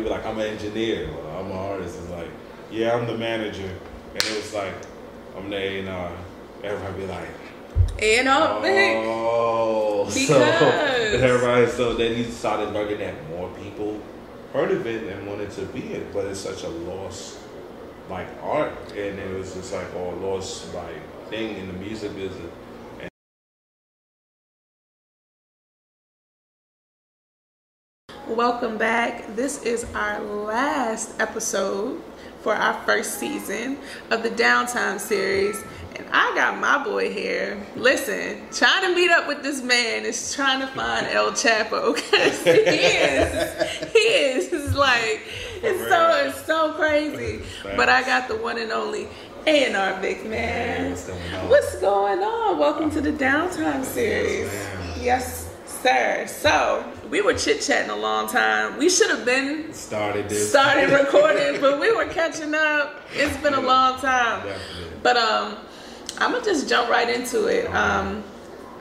I'm an engineer, or I'm an artist. It's like, yeah, I'm the manager, and it was like, I'm the A and R. Everybody be like, And uh, all big. oh, so Because- and everybody. So then he started bugging that more people heard of it and wanted to be it, but it's such a lost like art, and it was just like all lost like thing in the music business. Welcome back. This is our last episode for our first season of the Downtime series. And I got my boy here. Listen, trying to meet up with this man is trying to find El Chapo because he is. He is. It's like, it's so, it's so crazy. But I got the one and only A&R Vic, Hey, man. what's going on? What's going on? Welcome to the Downtime series. ma'am. Yes, sir. So we were chit chatting a long time. We should have been started this? started recording, but we were catching up. It's been a long time. Definitely. But um, I'm gonna just jump right into it. Um,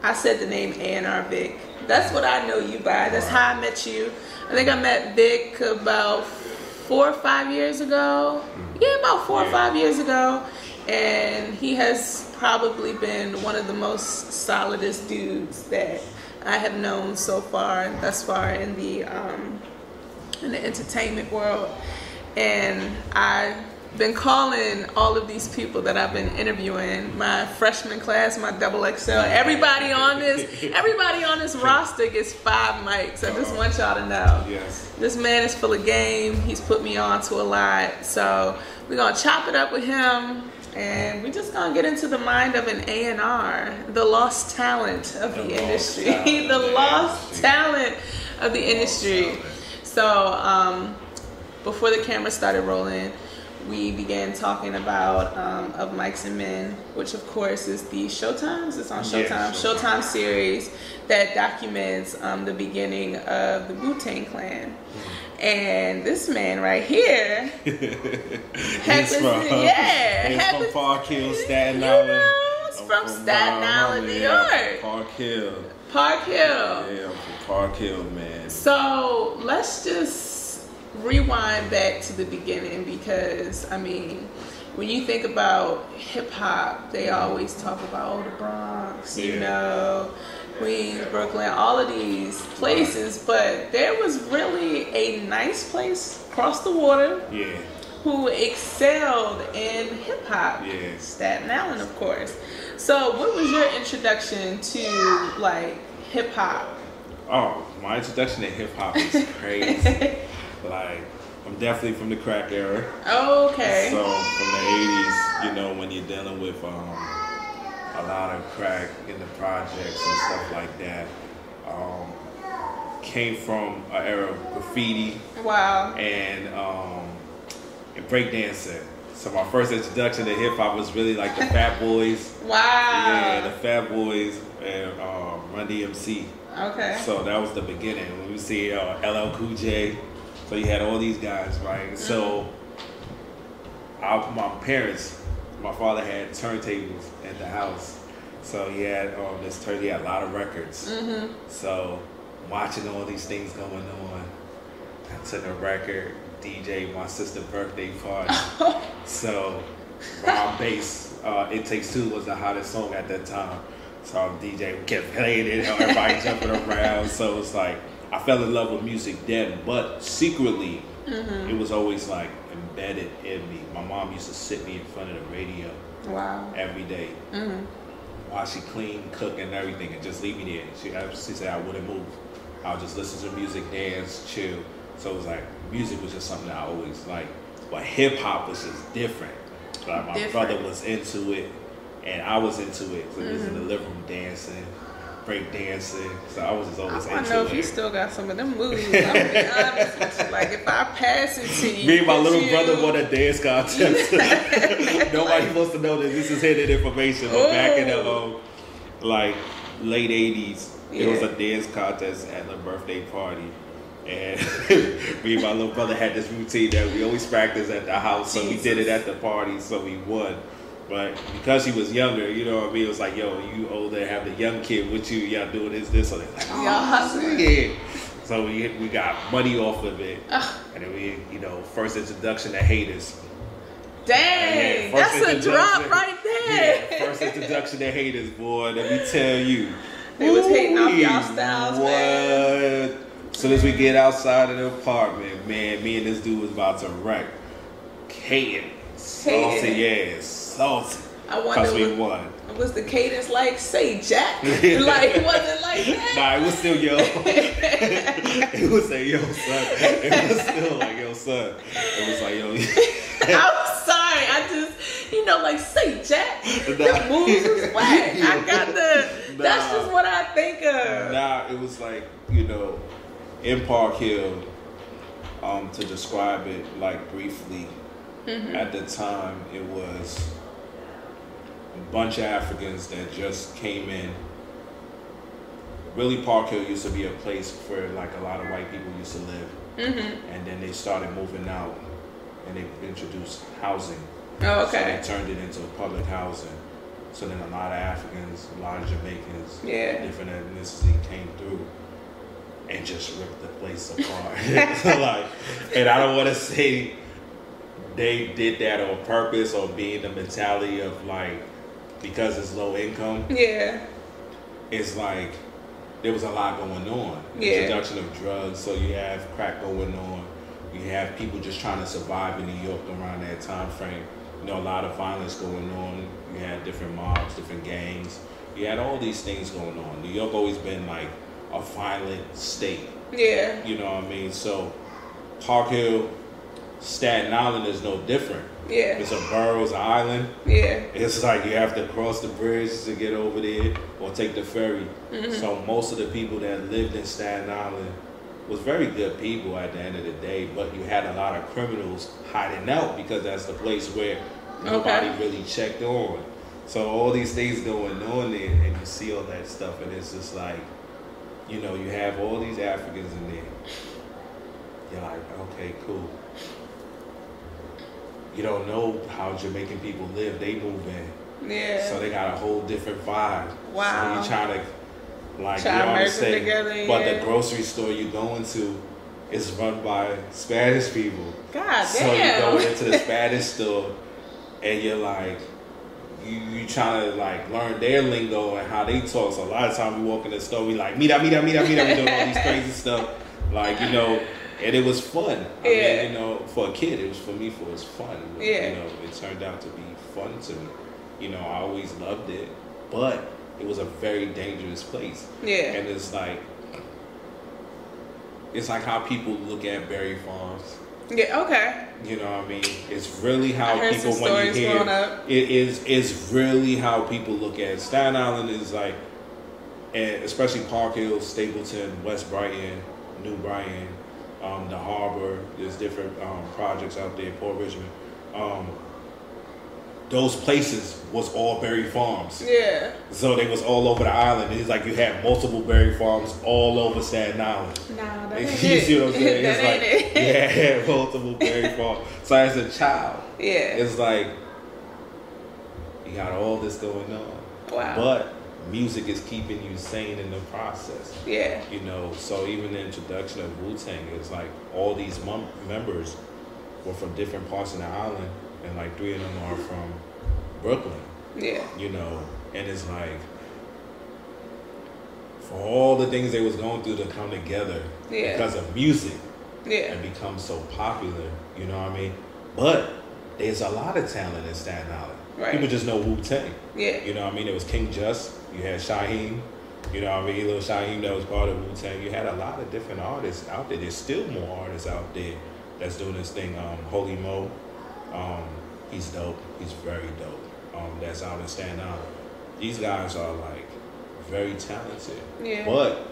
I said the name A&R Vic. That's what I know you by. That's how I met you. I think I met Vic about four or five years ago. Yeah, about four or Mm-hmm. Yeah. five years ago. And he has probably been one of the most solidest dudes that I have known so far, thus far in the um, in the entertainment world. And I've been calling all of these people that I've been interviewing, my freshman class, my double XL, everybody on this, everybody on this roster gets five mics. I just want y'all to know. Yes. This man is full of game. He's put me on to a lot. So we're gonna chop it up with him and we're just gonna get into the mind of an A and R, the lost talent of the, The lost industry. talent the of the lost industry. talent of the industry. talent. So um, before the camera started rolling, we began talking about um, of Mics and Men, which of course is the Showtimes. It's on Showtime. Yes, Showtime. Showtime series that documents um, the beginning of the Wu Tang Clan. And this man right here, He's Happens- from yeah, he's happens- from Park Hill, you Staten Island. know, is I'm from Staten Long Island, New yeah, I'm York, Oh. from Park Hill. Park Hill. Yeah, I'm from Park Hill, man. So let's just rewind back to the beginning because I mean, when you think about hip hop, they always talk about oh, the Bronx, you Mm-hmm. Yeah. know, Queens, Brooklyn, all of these places, but there was really a nice place across the water Yeah, who excelled in hip hop. Yes. Staten Island, of course. So, what was your introduction to like hip hop? Oh, my introduction to hip hop is crazy. like, I'm definitely from the crack era. okay. So from the '80s, you know, when you're dealing with um, a lot of crack in the projects and stuff like that, um, came from an era of graffiti wow. and um, and breakdancing. So my first introduction to hip hop was really like the Fat Boys, Ah. yeah, the Wow. Fat Boys and um, Run DMC. okay. So that was the beginning. When we see uh, LL Cool J, so you had all these guys, right? So I, my parents, my father had turntables at the house, so he had um, this turn. He had a lot of records. So watching all these things going on, I took a record DJ my sister's birthday party. So, Rob Bass, uh, It Takes Two was the hottest song at that time. So I'm DJ kept playing it, everybody jumping around. So it's like I fell in love with music then, but secretly it was always like embedded in me. My mom used to sit me in front of the radio wow. every day Mm-hmm. while she cleaned, cooked, and everything, and just leave me there. She, I- she said I wouldn't move. I would just listen to music, dance, chill. So it was like music was just something that I always liked. But hip hop was just different. Like my Different. brother was into it, and I was into it. So it was in the Mm-hmm. living room dancing, break dancing. So I was just I always want to know if into you it. still got some of them movies. I'm gonna be honest with you. Like, if I pass it to you, Me and my could little you- brother won a dance contest. Nobody's supposed to know this. This is hidden information. But back in the Oh. um, like late '80s, it was Yeah. a dance contest at the birthday party, and me and my little brother had this routine that we always practiced at the house. So we did it at the party, so we won. But because he was younger, you know what I mean. It was like, yo, you older, have the young kid with you. Y'all doing this, this, or that. Like, Y'all hustling. yeah. So we we got money off of it, Ugh. and then we you know first introduction to haters. Yeah, Dang, first that's a drop introduction- right there. Yeah, first introduction to haters, boy. Let me tell you, They was hating off Ooh-wee, y'all styles, what? man. Soon as we get outside of the apartment, man, me and this dude was about to wreck, hating, salty ass, salty. I Cause we wonder what, won. was the cadence like, say Jack? like, was it like that? Nah, it was still yo. it was like yo son. It was still like yo son. It was like yo. I'm sorry, I just, you know, like, say Jack? The Nah. moves was whack. I got the, Nah. that's just what I think of. Nah, it was like you know, in Park Hill. Um, to describe it like briefly, at the time it was a bunch of Africans that just came in. Really, Park Hill used to be a place where like a lot of white people used to live, and then they started moving out, and they introduced housing. Oh, So okay. they turned it into public housing. So then a lot of Africans, a lot of Jamaicans, Yeah. different ethnicity came through and just ripped the place apart. like, and I don't want to say they did that on purpose or being the mentality of like because it's low income. Yeah. It's like there was a lot going on. Yeah. Introduction of drugs, so you have crack going on. You have people just trying to survive in New York around that time frame. You know, a lot of violence going on. You had different mobs, different gangs. You had all these things going on. New York always been like a violent state. Yeah. You know what I mean? So Park Hill, Staten Island is no different. Yeah. It's a borough, it's an island. Yeah. It's like you have to cross the bridge to get over there or take the ferry. So most of the people that lived in Staten Island was very good people at the end of the day, but you had a lot of criminals hiding out because that's the place where nobody really checked on. So all these things going on there and you see all that stuff and it's just like, you know, you have all these Africans in there. You're like, okay, cool you don't know how Jamaican people live. They move in, Yeah. so they got a whole different vibe. Wow. So you try to like Try you to know what I'm merge them saying? together, But yeah. the grocery store you going to is run by Spanish people. God so damn. you go into the Spanish store and you're like. You, you trying to like learn their lingo and how they talk. So a lot of time we walk in the store, we like mira, mira, mira, mira. We doing all these crazy stuff, like you know. And it was fun. I Yeah. mean, you know, for a kid, it was for me. For it was fun. Yeah. You know, it turned out to be fun to me. You know, I always loved it, but it was a very dangerous place. yeah. And it's like, it's like how people look at berry farms. Yeah. Okay. You know what I mean? It's really how I heard people some when you stories hear growing up. it is it's really how people look at it. Staten Island is like, and especially Park Hill, Stapleton, West Brighton, New Brighton, um, the Harbor. There's different um, projects out there, Port Richmond. Um, those places was all berry farms. Yeah. So they was all over the island. It's like you had multiple berry farms all over Staten Island. Nah, that You ain't it. see what I'm saying? that It's ain't like it. yeah, multiple berry farms. So as a child, Yeah. it's like you got all this going on, Wow. but music is keeping you sane in the process. yeah. You know, so even the introduction of Wu Tang is like all these mem- members were from different parts of the island, and like three of them are from Brooklyn Yeah. you know, and it's like for all the things they was going through to come together Yeah. because of music Yeah. and become so popular, you know what I mean? But there's a lot of talent in Staten Island. Right. People just know Wu Tang. Yeah. You know what I mean? It was King Just, you had Shaheem, you know what I mean? Little Shaheem that was part of Wu Tang. You had a lot of different artists out there. There's still more artists out there that's doing this thing. Um, Holy Mo, um, he's dope. He's very dope. Um, that's out in Staten Island. These guys are like very talented. Yeah. But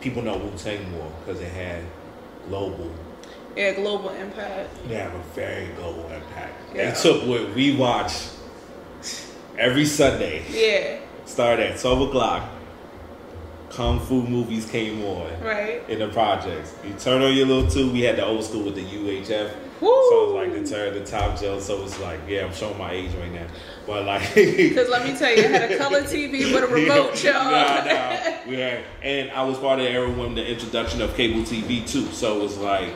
people know Wu Tang more because they had global. Yeah. Global impact. They have a very global impact. Yeah. They took what we watch every Sunday Yeah. start at 12 o'clock, kung fu movies came on Right. in the projects. You turn on your little tube. We had the old school with the UHF. Woo. So it's like the turn the top gel. So it's like, yeah, I'm showing my age right now, but like. Because let me tell you, I had a color TV with a remote, Yeah. y'all. Nah, nah. We had, and I was part of the era when the introduction of cable TV too. So it was like,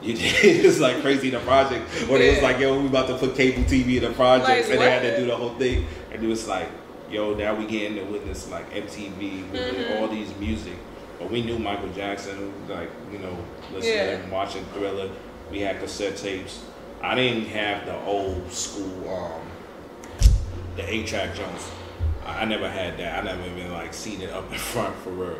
you did, it's like crazy in the project. Or they was Yeah. like, yo, we about to put cable TV in the project, Like, and they had what? to do the whole thing. And it was like, yo, now we getting to witness like MTV with Mm-hmm. all these music. But we knew Michael Jackson, like you know, listening Yeah. to him, watching Thriller. We had cassette tapes. I didn't have the old school. um the eight track Jones. I, I never had that. I never even like seated up in front for real.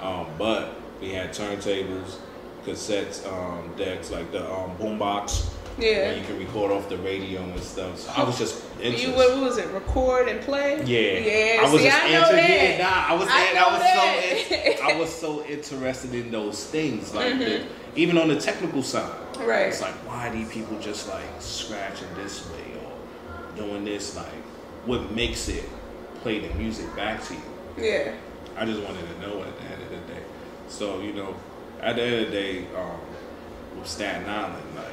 Um, but we had turntables, cassettes, um, decks, like the um, boombox. Where Yeah. you can record off the radio and stuff. So I was just interested. You what was it? Record and play? yeah, Yeah. I was See, just I know inter- that. yeah, nah, I was, I in- know was so, that. Mm-hmm. in- I was so interested in those things, like the, even on the technical side. Right. It's like, why do people just like scratching this way or doing this? Like, what makes it play the music back to you? Yeah. I just wanted to know at the end of the day. So, you know, at the end of the day, um, with Staten Island, like,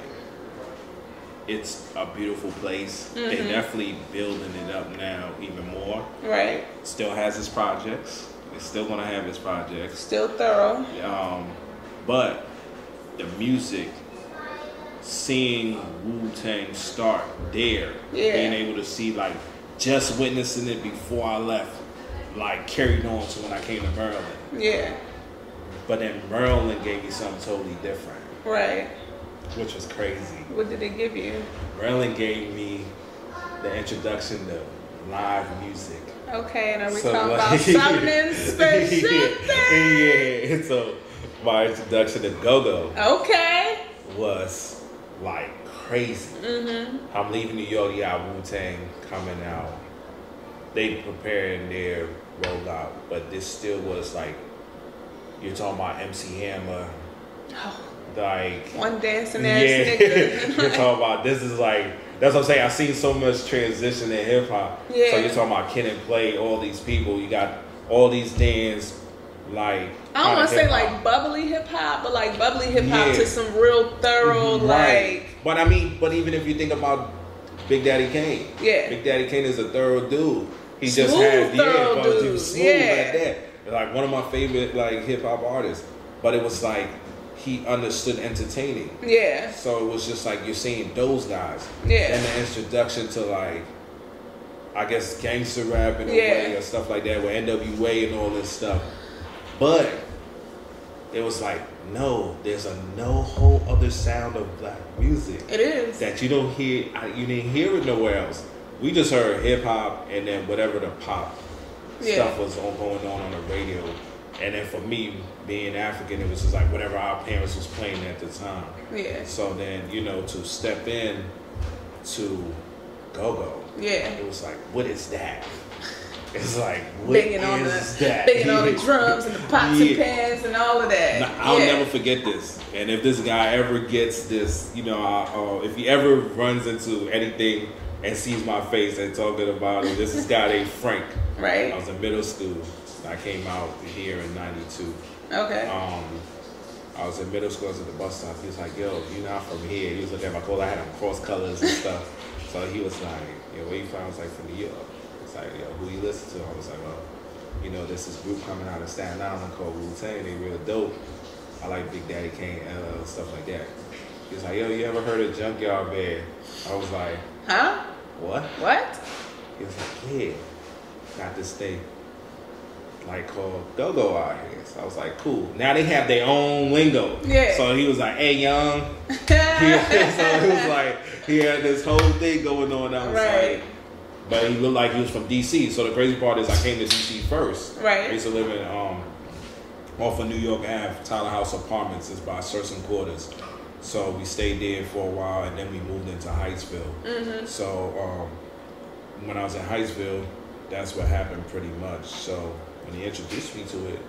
it's a beautiful place. They're Mm-hmm. definitely building it up now even more. Right. Still has its projects. It's still going to have its projects. Still thorough. Um, but the music, seeing Wu Tang start there, Yeah. being able to see like just witnessing it before I left, like carried on to when I came to Maryland. Yeah. But then Maryland gave me something totally different, Right. which was crazy. What did they give you? Maryland gave me the introduction to live music. Okay, and are we So, talking like- about something in special? yeah, yeah. So my introduction to Go Go. Okay. was like crazy. Mm-hmm. I'm leaving New York. You got Wu Tang coming out. They preparing their rollout, but this still was like you're talking about MC Hammer, Oh, like one dancing ass yeah. nigga. you're talking about this is like that's what I'm saying. I've seen so much transition in hip hop. Yeah. So you're talking about Ken and Play, all these people. You got all these dance like I don't want to say hip-hop. like bubbly hip hop, but like bubbly hip hop Yeah. Mm-hmm. to some real thorough, Right. like But I mean, but even if you think about Big Daddy Kane, Yeah. Big Daddy Kane is a thorough dude. He just Smooth, had yeah, thorough but he dude, was smooth yeah. like that. Like one of my favorite like hip hop artists, but it was like he understood entertaining. yeah, So it was just like you're seeing those guys. Yeah. And the introduction to like, I guess gangster rap in a Yeah. way or stuff like that with NWA and all this stuff. But it was like, no, there's a no whole other sound of black music it is. that you don't hear. I- You didn't hear it nowhere else. We just heard hip hop and then whatever the pop Yeah. stuff was on, going on on the radio. And then for me, being African, it was just like whatever our parents was playing at the time. Yeah, So then, you know, to step in to go go, yeah. it was like, what is that? It's like, what is Banging on the that? banging on the drums and the pots and Yeah. pans and all of that. Nah, I'll yeah. never forget this. And if this guy ever gets this, you know, I, uh, if he ever runs into anything and sees my face and talking about it, this is guy named Frank. I Right. was in middle school. I came out here in '92. Okay. Um, I was in middle school. I was at the bus stop. He was like, "Yo, you're not from here." He was looking at my clothes. I had on cross colors and stuff. so he was like, "Yo, where you from?" I was like, "From New York." It's like, "Yo, who you listen to?" I was like, "Well, you know, there's this group coming out of Staten Island called Wu Tang. They real dope. I like Big Daddy Kane, LL, stuff like that." He was like, "Yo, you ever heard of Junkyard Band?" I was like, huh? "What?" What? He was like, yeah, got this thing like called Go Go out here. So I was like, cool. Now they have their own lingo. Yeah. So he was like, hey, young. Yeah, so he was like, he had this whole thing going on. I was Right. like, but he looked like he was from DC. So the crazy part is, I came to DC first. Right. I used to live in um, off of New York Ave, Tyler House Apartments. It's by Certain Quarters. So we stayed there for a while, and then we moved into Heightsville. So um, when I was in Heightsville, that's what happened pretty much. So when he introduced me to it,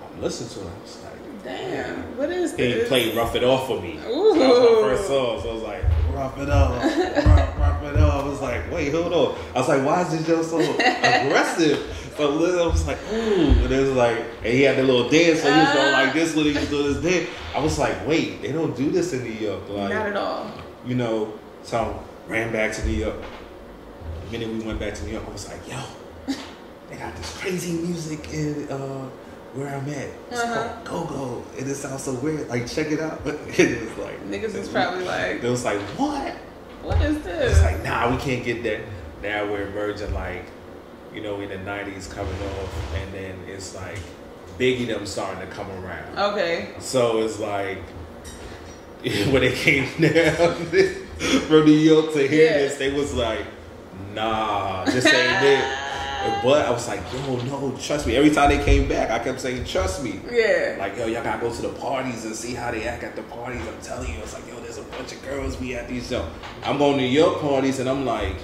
I listened to it. I was like, Damn. What is he this? played Rough It Off for me. Ooh. That was my first song. So I was like, rough it up, rough, rough it up. I was like, wait, hold on. I was like, why is this Joe so aggressive? But little, I was like, ooh, and it was like, and he had the little dance, so he was going like this when he was doing his dance. I was like, wait, they don't do this in New York, like, Not at all. you know. So I ran back to New York. The minute we went back to New York, I was like, yo, they got this crazy music in uh, where I'm at. It's Uh-huh. called Go Go. And it sounds so weird. Like, check it out. it was like, Niggas is probably like, It was like, what? what is It's this? like, nah, we can't get that. Now we're emerging, like, you know, in the 90s coming off. And then it's like, Biggie them starting to come around. Okay. So it's like when it came down from New York to hear Yeah. this, they was like, nah, this ain't it. But I was like, yo, no, trust me. Every time they came back, I kept saying, trust me. Yeah. Like, yo, y'all gotta go to the parties and see how they act at the parties. I'm telling you, it's like, yo, there's a bunch of girls be at these shows. I'm going to New York parties and I'm like,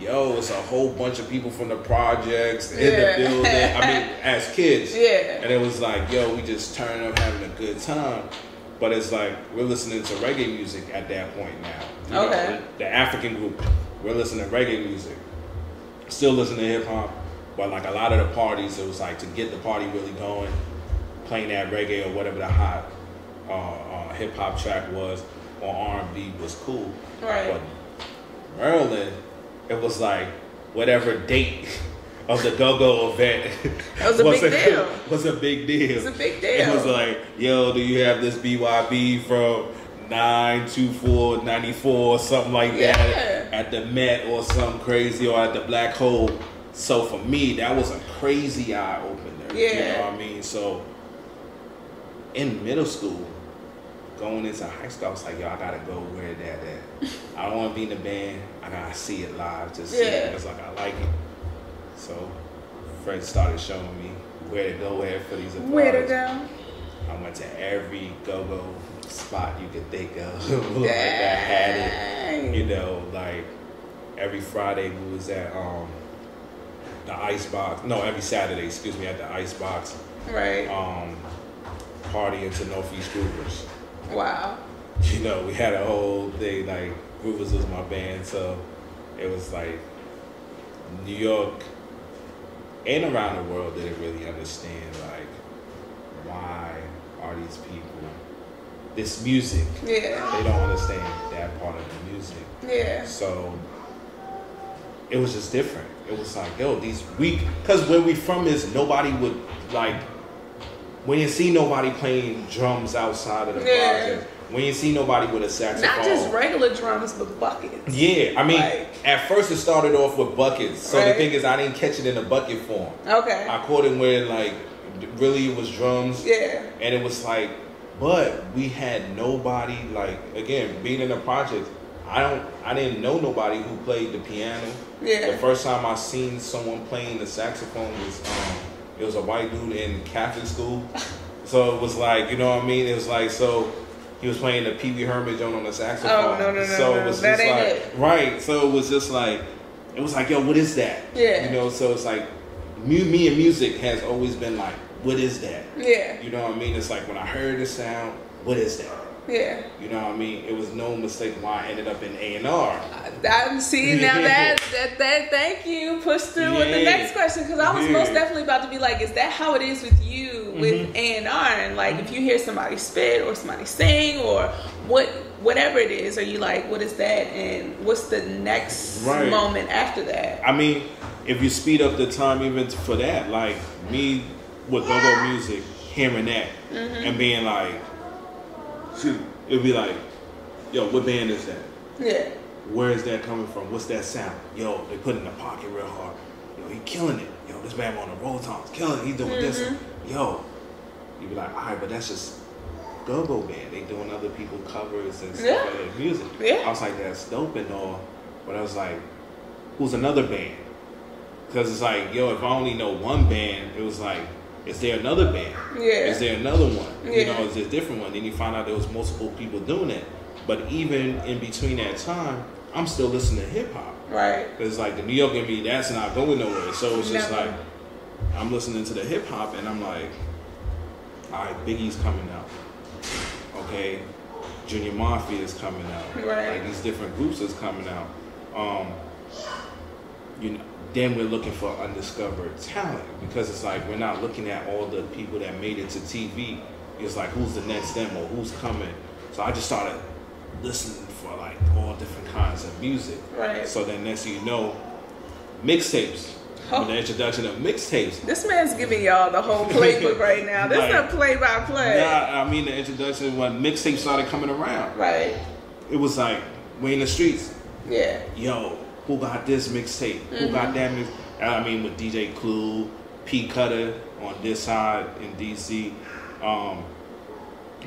yo, it's a whole bunch of people from the projects in Yeah. the building. I mean, as kids. Yeah. And it was like, yo, we just turn up having a good time. But it's like we're listening to reggae music at that point now. You know, Okay. the, the African group, we're listening to reggae music. Still listening to hip hop, but like a lot of the parties, it was like to get the party really going, playing that reggae or whatever the hot uh, uh, hip hop track was or R and B was cool. Right. But Maryland, it was like whatever date of the Go Go event That was a big deal. was a big deal. It's a big It was deal. like, yo, do you have this BYB from 924 94 or something like that Yeah. at the Met or something crazy or at the Black Hole? So for me, that was a crazy eye opener. You Yeah. know what I mean? So in middle school, going into high school, I was like, yo, I gotta go where that at. I don't wanna be in the band. I gotta see it live. Just see Yeah. it. It's like I like it. So Fred started showing me where to go at for these applause. Where to go? I went to every go-go spot you could think of. like I had it. You know, like every Friday we was at um the Icebox. No, every Saturday, excuse me, at the Icebox Right. um party into Northeast Groovers. Wow. you know, we had a whole thing like Groovers was my band, so it was like New York and around the world didn't really understand like why are these people this music. Yeah. They don't understand that part of the music. Yeah. So it was just different. It was like, yo, these weak because where we from is nobody would like when you see nobody playing drums outside of the Yeah. project. When you see nobody with a saxophone. Not just regular drums, but buckets. yeah, I mean, Like- at first it started off with buckets. So the Right. thing is, I didn't catch it in a bucket form. Okay. I caught it where like really it was drums. Yeah. And it was like, but we had nobody like again being in the project. I don't, I didn't know nobody who played the piano. Yeah. The first time I seen someone playing the saxophone was um, it was a white dude in Catholic school. So it was like, you know what I mean? It was like so. He was playing the Pee Wee Herman joint on the saxophone. Oh, no, no, no, So it no. was That just ain't like, it. right. So it was just like, it was like, yo, what is that? Yeah. You know. So it's like, me, me and music has always been like, what is that? Yeah. You know what I mean? It's like when I heard the sound, what is that? Yeah. You know what I mean? It was no mistake why I ended up in A and R. I'm seeing now that, that that thank you push through with the Yeah. next question because I was Yeah. Mm-hmm. most definitely about to be like, is that how it is with you with A and R? And like, if you hear somebody spit or somebody sing or what whatever it is, are you like, what is that? And what's the next Right. moment after that? I mean, if you speed up the time even for that, like me with go go music, hearing that and being like, shoot, it'd be like, yo, what band is that? Yeah, Where is that coming from? What's that sound? Yo, they put it in the pocket real hard. Yo, he killing it. Yo, this man on the roll toms killing. it. He doing this. Mm-hmm. Yo, you be like, all right, but that's just go-go band. They doing other people covers and stuff Yeah. like that music. Yeah. I was like, that's dope and all, but I was like, who's another band? Because it's like, yo, if I only know one band, it was like, is there another band? Yeah. Is there another one? You Yeah. know, is there a different one? Then you find out there was multiple people doing it. But even in between that time, I'm still listening to hip hop. right. It's like the New York in me, that's not going nowhere. So it's just Never. like I'm listening to the hip hop and I'm like, all right, Biggie's coming out. Okay, Junior Mafia is coming out. Right. Like these different groups is coming out. Um, you know, then we're looking for undiscovered talent because it's like we're not looking at all the people that made it to TV. It's like who's the next demo, who's coming. So I just started listening for like all different kinds of music. Right. So then next thing you know, mixtapes. Oh. With the introduction of mixtapes. This man's giving y'all the whole playbook right now. This is Right. not play by play. Nah, I mean the introduction when mixtapes started coming around. Right. It was like we in the streets. Yeah. yo, who got this mixtape? Who Mm-hmm. got that mix? Uh, I mean, with DJ Clue, P Cutter on this side in DC, um,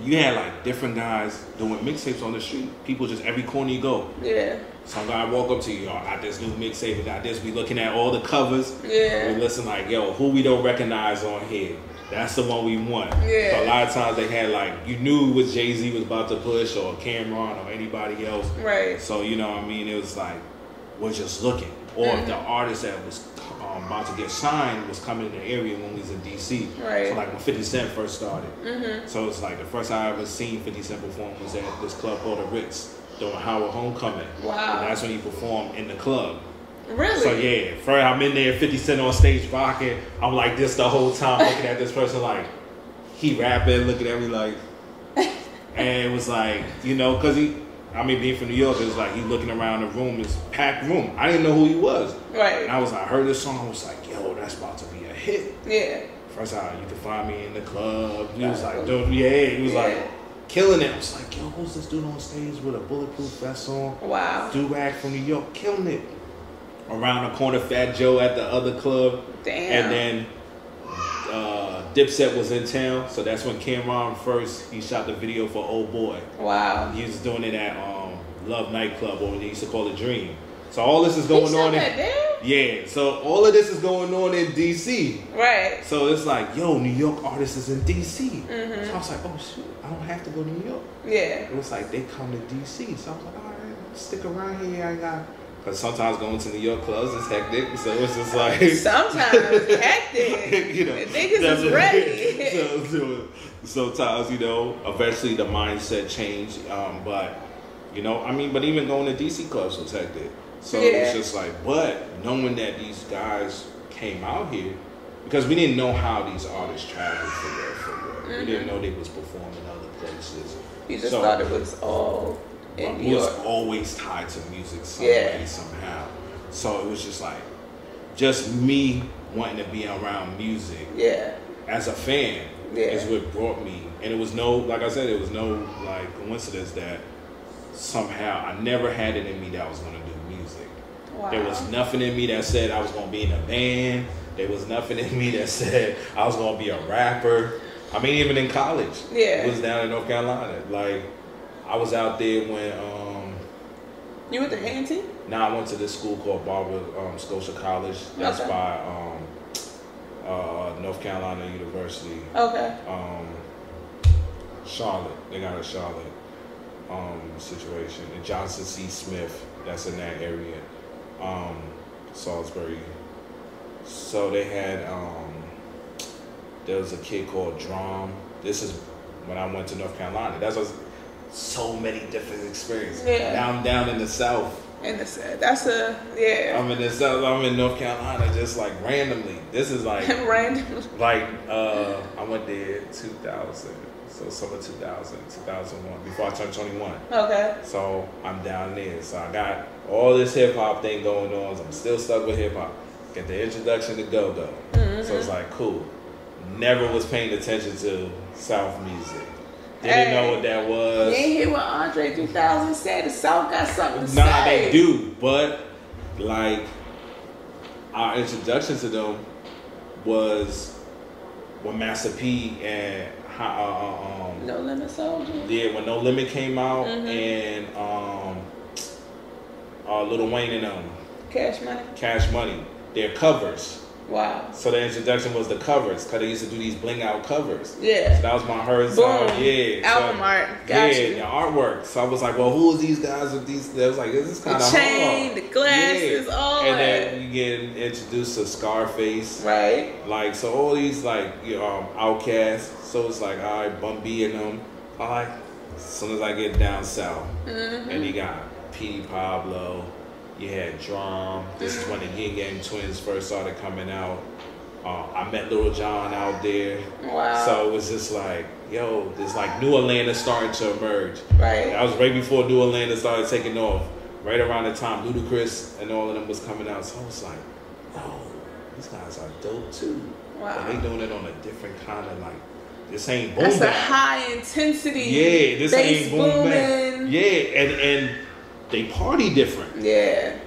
you had like different guys doing mixtapes on the street. People just every corner you go, Yeah. some guy walk up to you, yo, I got this new mixtape, we got this. We looking at all the covers. Yeah. We listen like, yo, who we don't recognize on here. That's the one we want. Yeah. So a lot of times they had like you knew what Jay Z was about to push or Cameron or anybody else. Right. So you know, what I mean, it was like we're just looking, or if Mm-hmm. the artist that was um, about to get signed was coming in the area when we was in DC. Right. Mm-hmm. So like when Fifty Cent first started, so it's like the first time I ever seen Fifty Cent perform was at this club called the Ritz during Howard Homecoming. Wow. And that's when he performed in the club. Really? So yeah, first I'm in there, 50 Cent on stage rocking. I'm like this the whole time, looking at this person like he rapping, looking at me like, and it was like you know, cause he, I mean, being from New York, it was like he looking around the room, it's packed room. I didn't know who he was, and Right. I was like, I heard this song, I was like, yo, that's about to be a hit. Yeah. First time you can find me in the club. He was like, dude, yeah, he was like Yeah. killing it. I was like, yo, who's this dude on stage with a bulletproof vest on? Wow. Durag from New York killing it. Around the corner, Fat Joe at the other club. Damn. And then uh, Dipset was in town, so that's when Cameron first he shot the video for Old Boy. Wow. He was doing it at um, Love Nightclub, or they used to call it Dream. So all this is He going shot on. that In, down? yeah. So all of this is going on in DC. Right. So it's like, yo, New York artists is in DC. So I was like, oh shoot, I don't have to go to New York. Yeah. It was like they come to DC, so I was like, all right, stick around here. I got. Cause sometimes going to New York clubs is hectic, so it's just like Sometimes hectic. you know, The niggas that's is what- ready. so, so sometimes you know, eventually the mindset changed. Um, but you know, I mean, but even going to DC clubs was hectic. So Yeah. it's just like, but knowing that these guys came out here because we didn't know how these artists traveled for work. For work. We didn't know they was performing other places. Mm-hmm. You just So- thought it was all in but New we was York. always tied to music some Yeah. way, somehow. So it was just like, just me wanting to be around music Yeah. as a fan Yeah. is what brought me. And it was no, like I said, it was no like coincidence that somehow I never had it in me that I was gonna do music. Wow. There was nothing in me that said I was gonna be in a band. There was nothing in me that said I was gonna be a rapper. I mean, even in college, Yeah. it was down in North Carolina. Like, I was out there when um, you with the auntie? now I went to this school called Barbara um, Scotia College. That's Okay. by um, uh, North Carolina University Okay. um, Charlotte. They got a Charlotte um, situation. And Johnson C. Smith, that's in that area. Um, Salisbury. So they had, um, there was a kid called Drum. This is when I went to North Carolina. That's was so many different experiences. Yeah. Now I'm down in the South. And it's, that's a yeah. I'm in the South. I'm in North Carolina just like randomly. This is like Random. like, uh, I went there 2000, so summer 2000, 2001, before I turned 21. Okay. So I'm down there. So I got all this hip hop thing going on. So I'm still stuck with hip hop. Get the introduction to Go Go. So it's like, cool. Never was paying attention to South music. Didn't Hey. know what that You was. ain't hear what Andre 3000 said. The South got something to Nah, say. they do, but like our introduction to them was when Master P and Hi- uh, uh, um, No limit soldier. yeah, when No Limit came out and um, uh, Little Wayne and um, Cash money. Cash Money, their covers. Wow. So the introduction was the covers, cause they used to do these bling out covers. So Yeah. that was my hers. Boom. yeah. Album so, art. Got yeah, you. the artwork. So I was like, well, who is these guys with these? I was like, this is kind of The chain, the glasses, all And that. then you get introduced to Scarface. Right. Like, so all these, like, you know, um, outcasts. So it's like, all right, Bun B and them. All right, As soon as I get down south, and you got P. Pablo, you had Drum. This is when the Yin Yang Twins first started coming out. Uh, I met Little John out there. Wow. So it was just like, yo, this like new Atlanta starting to emerge. Right. That was right before New Atlanta started taking off. Right around the time Ludacris and all of them was coming out. So I was like, yo, these guys are dope too. Wow. But they doing it on a different kind of like, this ain't boom That's a bap. high intensity. Yeah, this bass ain't boom bap. booming. Yeah, and, and they party different. Yeah.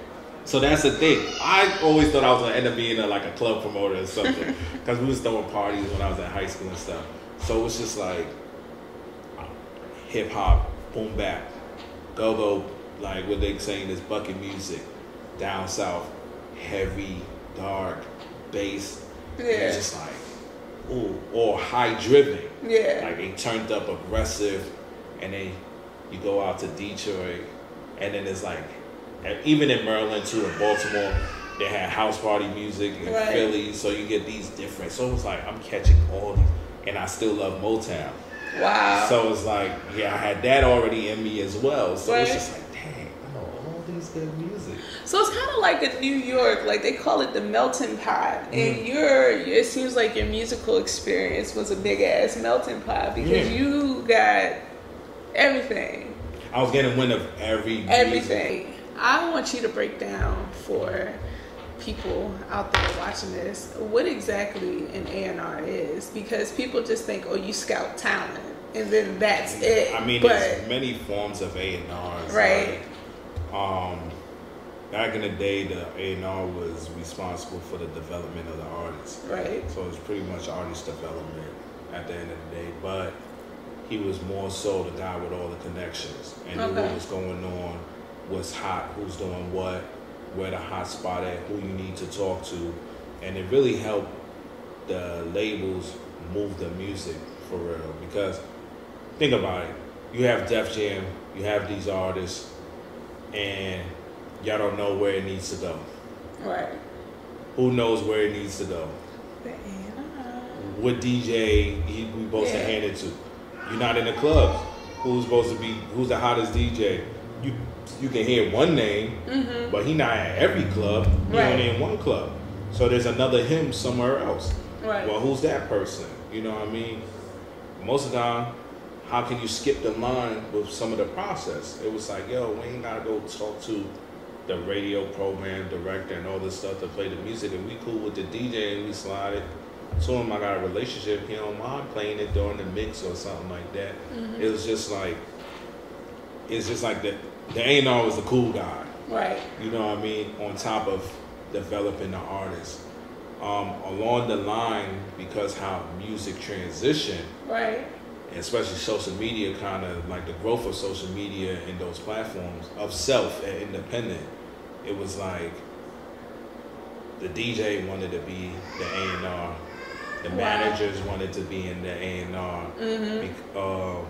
So that's the thing. I always thought I was gonna end up being a, like a club promoter or something because we was throwing parties when I was in high school and stuff. So it was just like hip hop, boom bap, go go, like what they saying is bucket music, down south, heavy, dark, bass. And Yeah. It's just like, ooh, or high driven. Yeah. Like they turned up aggressive, and then you go out to Detroit, and then it's like, and even in Maryland too, in Baltimore, they had house party music in Right. Philly, so you get these different. So it's like I'm catching all these, and I still love Motown. wow. So it's like, yeah, I had that already in me as well. So it's Right. just like, dang, I know all these good music. So it's kind of like a New York, like they call it the melting pot. Mm. And your, it seems like your musical experience was a big ass melting pot because Yeah. you got everything, I was getting wind of every music. everything. I want you to break down for people out there watching this what exactly an A and R is because people just think, oh, you scout talent and then that's it. I mean, but there's many forms of A and R's. Right. um, back in the day, the A and R was responsible for the development of the artist. right, So it's pretty much artist development at the end of the day. But he was more so the guy with all the connections and knew Okay. what was going on, what's hot, who's doing what, where the hot spot at, who you need to talk to, and it really helped the labels move the music for real. Because think about it, you have Def Jam, you have these artists, and y'all don't know where it needs to go. right. Who knows where it needs to go? The A&R. what DJ he we supposed to Yeah. hand it to. You're not in the clubs. Who's supposed to be? Who's the hottest DJ? You you can hear one name, Mm-hmm, but he not at every club. He Right. only in one club. So there's another him somewhere else. Right. Well, who's that person? You know what I mean? Most of the time, how can you skip the line with some of the process? It was like, yo, we ain't gotta go talk to the radio program director and all this stuff to play the music, and we cool with the DJ and we slide it. So him, I got a relationship. He don't mind playing it during the mix or something like that. It was just like, it's just like the the A and R was the cool guy. Right. You know what I mean? On top of developing the artist. Um, along the line, because how music transitioned, Right. especially social media, kind of like the growth of social media and those platforms of self and independent, it was like the DJ wanted to be the A and R, the Wow. managers wanted to be in the A and R. um,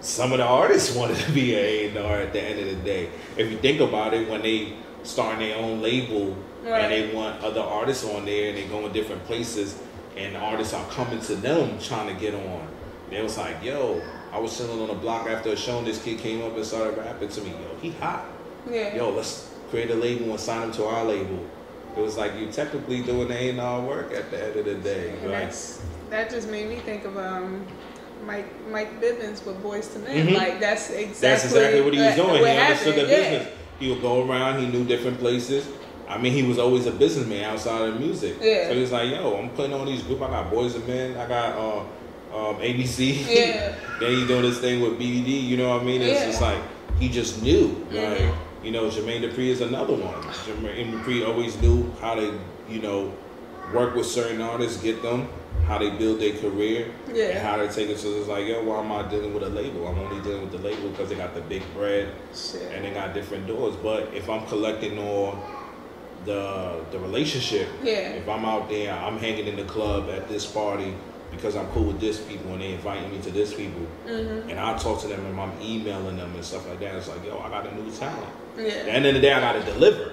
Some of the artists wanted to be A and R at the end of the day. If you think about it, when they starting their own label Right. and they want other artists on there and they going different places and artists are coming to them trying to get on. They was like, yo, I was sitting on the block after a show and this kid came up and started rapping to me. Yo, he hot Yeah. yo, let's create a label and sign them to our label. It was like you technically doing the A&R work at the end of the day. And Like, that's that just made me think of um Mike Mike Bibbins with Boys to Men. Mhm. Like that's exactly that's exactly what he was that- doing. what He understood the happened, yeah. business. He would go around, he knew different places. I mean, he was always a businessman outside of music. Yeah. So he was like, yo, I'm putting on these group. I got Boys and Men. I got uh, um, ABC. Yeah. then he doing this thing with BBD. You know what I mean? It's Yeah. just like, he just knew. Mhm. Like, you know, Jermaine Dupri is another one. Jermaine Dupri always knew how to, you know, work with certain artists, get them, how they build their career, Yeah. and how they take it. So it's like, yo, why am I dealing with a label? I'm only dealing with the label because they got the big bread Shit. and they got different doors. But if I'm collecting all the the relationship, Yeah. if I'm out there, I'm hanging in the club at this party because I'm cool with this people and they inviting me to this people, Mm-hmm. and I talk to them and I'm emailing them and stuff like that. It's like, yo, I got a new talent. At the yeah. end of the day, I got to deliver.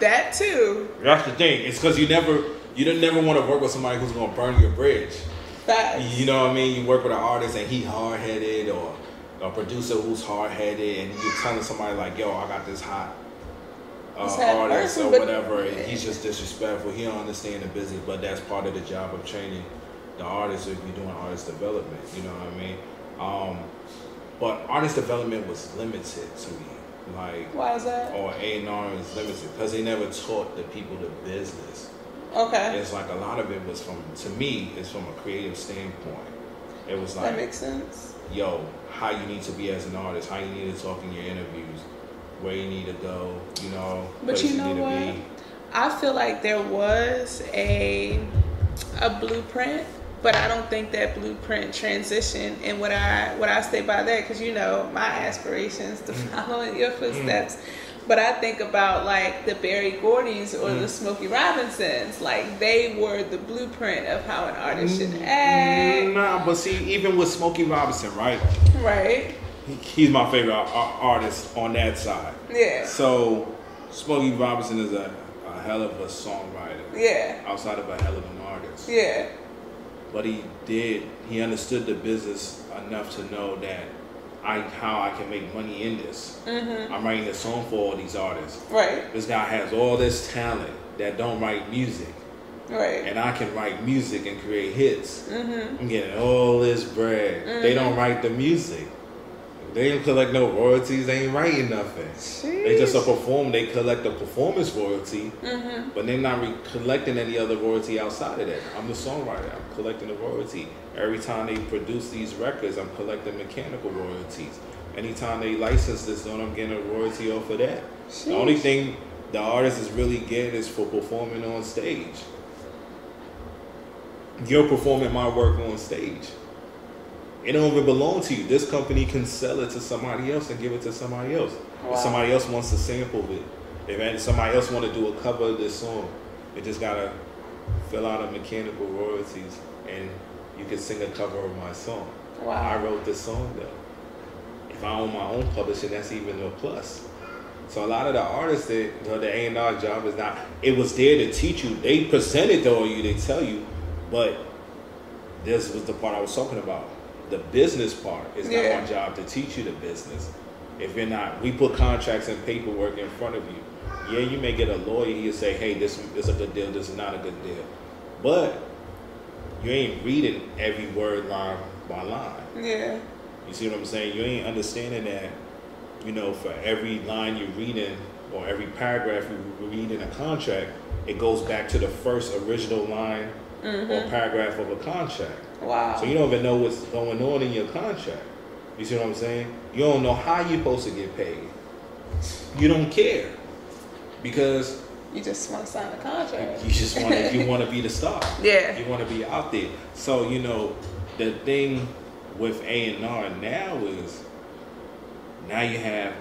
That too. That's the thing. It's because you never you don't never want to work with somebody who's gonna burn your bridge. Facts. You know what I mean? You work with an artist and he hard headed, or a producer who's hard headed, and you're telling somebody like, "Yo, I got this hot." This Uh, hot artist person, or but- whatever, and he's just disrespectful. He don't understand the business, but that's part of the job of training the artist if you're doing artist development. You know what I mean? Um, but artist development was limited to me, like Why is that? or A and R is limited because they never taught the people the business. Okay. Oh, It's like a lot of it was from to me. It's from a creative standpoint. It was like That makes sense. yo, how you need to be as an artist, how you need to talk in your interviews, where you need to go, you know, But you places know need to what? I feel like there was a a blueprint, but I don't think that blueprint transitioned. And what I what I say by that, because you know my aspirations to follow in your footsteps. Mm. But I think about like the Barry Gordons or the Smokey Robinsons, like they were the blueprint of how an artist should Mm-hmm. be. act, Nah, but see, even with Smokey Robinson, right? right? He- He's my favorite ar- ar- artist on that side. Yeah, So, Smokey Robinson is a, a hell of a songwriter, yeah, outside of a hell of an artist. yeah, but he did he understood the business enough to know that I how I can make money in this. I'm writing a song for all these artists. right, This guy has all this talent that don't write music, right, Mm-hmm. and I can write music and create hits. I'm getting all this bread. They don't write the music. They ain't collect no royalties. They ain't writing nothing. They just a Sheesh. Mm-hmm. perform. They collect a performance royalty, but they're not re- collecting any other royalty outside of that. I'm the songwriter. I'm collecting the royalty every time they produce these records. I'm collecting mechanical royalties. Anytime they license this, one, I'm getting a royalty off of that. The only thing the artist is really getting is for performing on stage. You're performing my work on stage. It don't even belong to you. This company can sell it to somebody else and give it to somebody else. Wow. If somebody else wants to sample it, if somebody else want to do a cover of this song, they just gotta fill out a mechanical royalties, and you can sing a cover of my song. I wow, wrote this song though. If I own my own publishing, that's even a plus. So a lot of the artists that you know, the A and R job is not. It was there to teach you. They present it to you. They tell you, but this was the part I was talking about. The business part is not Yeah. our job to teach you the business. If you're not, we put contracts and paperwork in front of you. Yeah, you may get a lawyer. He'll say, "Hey, this is a good deal. This is not a good deal," but you ain't reading every word line by line. yeah, You see what I'm saying? You ain't understanding that, you know, for every line you're reading or every paragraph you read in a contract, it goes back to the first original line or paragraph of a contract. wow, So you don't even know what's going on in your contract. You see what I'm saying? You don't know how you're supposed to get paid. You don't care because you just want to sign a contract. you just want to you want to be the star. Yeah. You want to be out there. So you know the thing with A and R now is now you have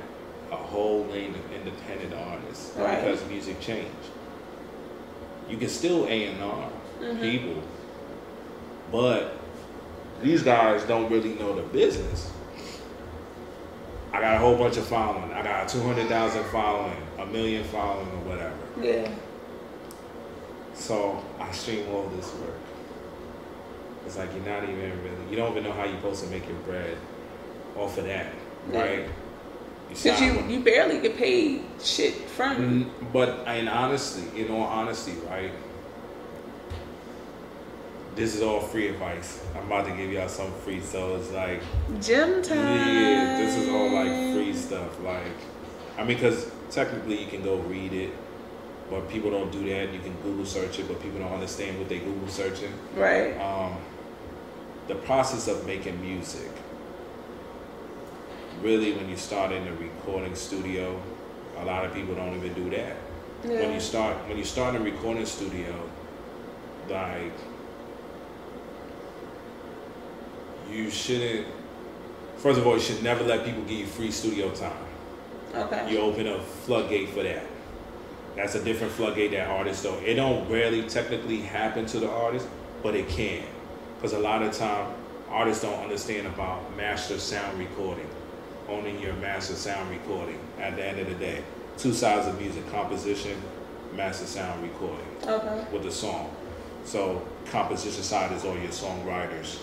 a whole lane of independent artists Right. because music changed. You can still A and R Mm-hmm. people, but these guys don't really know the business. I got a whole bunch of following. I got two hundred thousand following, a million following, or whatever. Yeah. So I stream all this work. It's like you're not even really, you don't even know how you're supposed to make your bread off of that, Yeah. right? You Cause sign you with- you barely get paid shit from Mm, But in honestly, in all honesty, right? This is all free advice. I'm about to give y'all some free, so it's like, gym time. Mm-hmm. yeah, this is all like free stuff. Like, I mean, because technically you can go read it, but people don't do that. You can Google search it, but people don't understand what they Google searching Right. um, the process of making music really when you start in the recording studio a lot of people don't even do that when Yeah. you start when you start in a recording studio like you shouldn't first of all you should never let people give you free studio time Okay. you open a floodgate for that. That's a different floodgate that artists don't. It don't rarely technically happen to the artist, but it can, because a lot of time artists don't understand about master sound recording, owning your master sound recording. At the end of the day, two sides of music: composition, master sound recording Okay. with the song. So composition side is all your songwriters.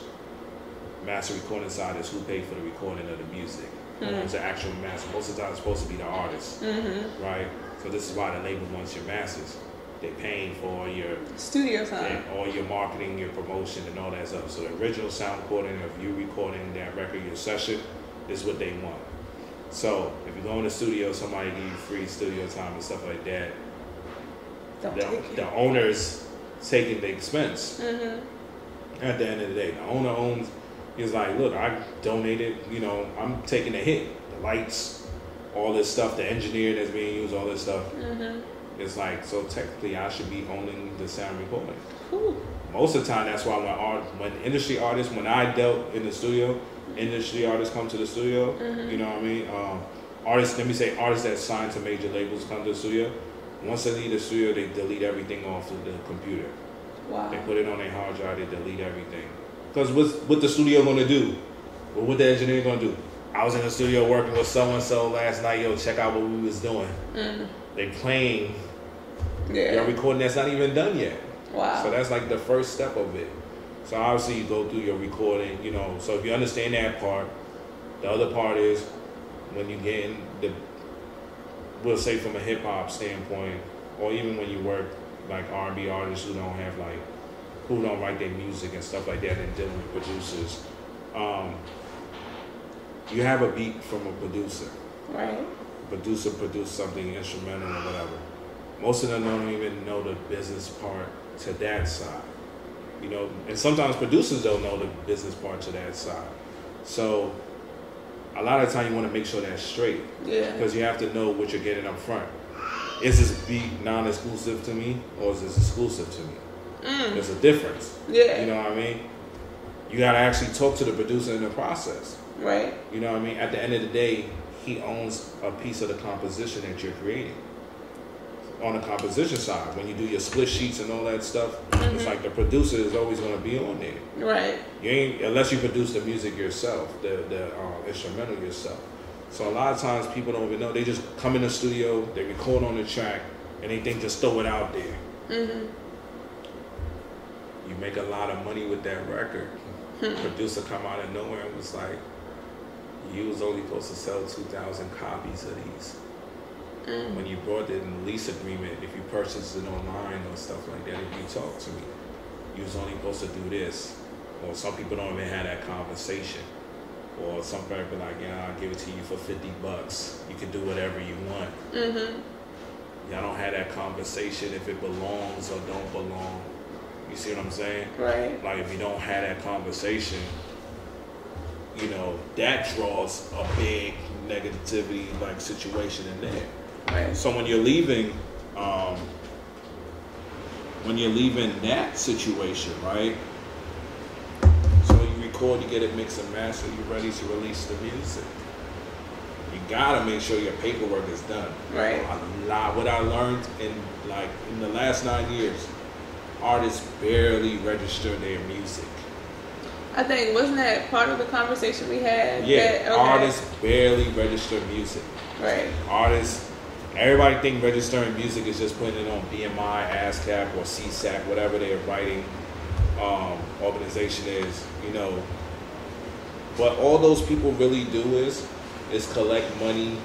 Master recording side is who paid for the recording of the music. It's the actual master. Most of the time, it's supposed to be the artist, right? So this is why the label wants your masters. They're paying for all your Studio time. and all your marketing, your promotion, and all that stuff. So the original sound recording of you recording that record, your session, is what they want. So if you go in the studio, somebody give you free studio time and stuff like that. Don't The, take it. the owner's taking the expense. Mm-hmm. At the end of the day, the owner owns. He's like, look, I donated. You know, I'm taking the hit. The lights, all this stuff, the engineer that's being used, all this stuff. Mm-hmm. It's like so technically, I should be owning the sound recording Cool. most of the time that's why when art when industry artists when I dealt in the studio, industry artists come to the studio. You know what I mean? Um, artists let me say artists that signed to major labels come to the studio. Once they leave the studio, they delete everything off of the computer. They Wow. put it on their hard drive. They delete everything. Cause what's what the studio gonna do? Well, what the engineer gonna do? I was in the studio working with so and so last night. Yo, check out what we was doing. They playing. They're Yeah. recording that's not even done yet. So Wow. that's like the first step of it. So obviously you go through your recording, you know. So if you understand that part, the other part is when you get in the, we'll say from a hip hop standpoint, or even when you work like R and B artists who don't have like, who don't write their music and stuff like that, and dealing with producers, um, you have a beat from a producer Right. producer produce something instrumental or whatever. Most of them don't even know the business part to that side. You know, and sometimes producers don't know the business part to that side. So a lot of time you want to make sure that's straight Yeah. because you have to know what you're getting up front. Is this beat non-exclusive to me or is this exclusive to me? There's a difference. You Yeah. know what I mean? You got to actually talk to the producer in the process. Right. You know what I mean? At the end of the day, he owns a piece of the composition that you're creating. On the composition side, when you do your split sheets and all that stuff, it's like the producer is always going to be on there. Right. You ain't unless you produce the music yourself, the the uh, instrumental yourself. So a lot of times people don't even know. They just come in the studio, they record on the track, and they think just throw it out there. You make a lot of money with that record. Producer come out of nowhere and was like, "You was only supposed to sell two thousand copies of these." When you brought it in the lease agreement, if you purchased it online or stuff like that, if you talk to me, you was only supposed to do this. Or some people don't even have that conversation. Or some people be like, yeah, I'll give it to you for 50 bucks. You can do whatever you want. Mm-hmm. Y'all don't have that conversation if it belongs or don't belong. You see what I'm saying? Right. Like if you don't have that conversation, you know, that draws a big negativity like situation in there. Right. So when you're leaving, um, when you're leaving that situation, right? So you record, you get it mixed and mastered, you're ready to release the music. You gotta make sure your paperwork is done. Right. A lot. What I learned in like in the last nine years, artists barely register their music. I think wasn't that part of the conversation we had? Yeah, That, okay. artists barely register music. Right. artists. Everybody think registering music is just putting it on BMI, ASCAP, or CSAC, whatever their writing um, organization is, you know. What all those people really do is is collect money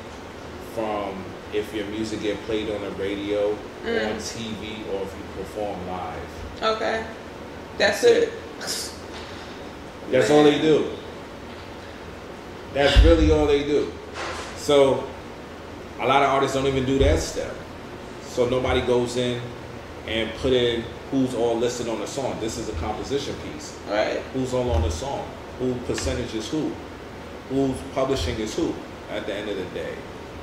from if your music get played on the radio, Mm. on TV, or if you perform live. Okay. That's it. That's all they do. That's really all they do. So a lot of artists don't even do that step. So nobody goes in and put in who's all listed on the song. This is a composition piece. Right. Who's all on the song? Who percentage is who? Who's publishing is who? At the end of the day,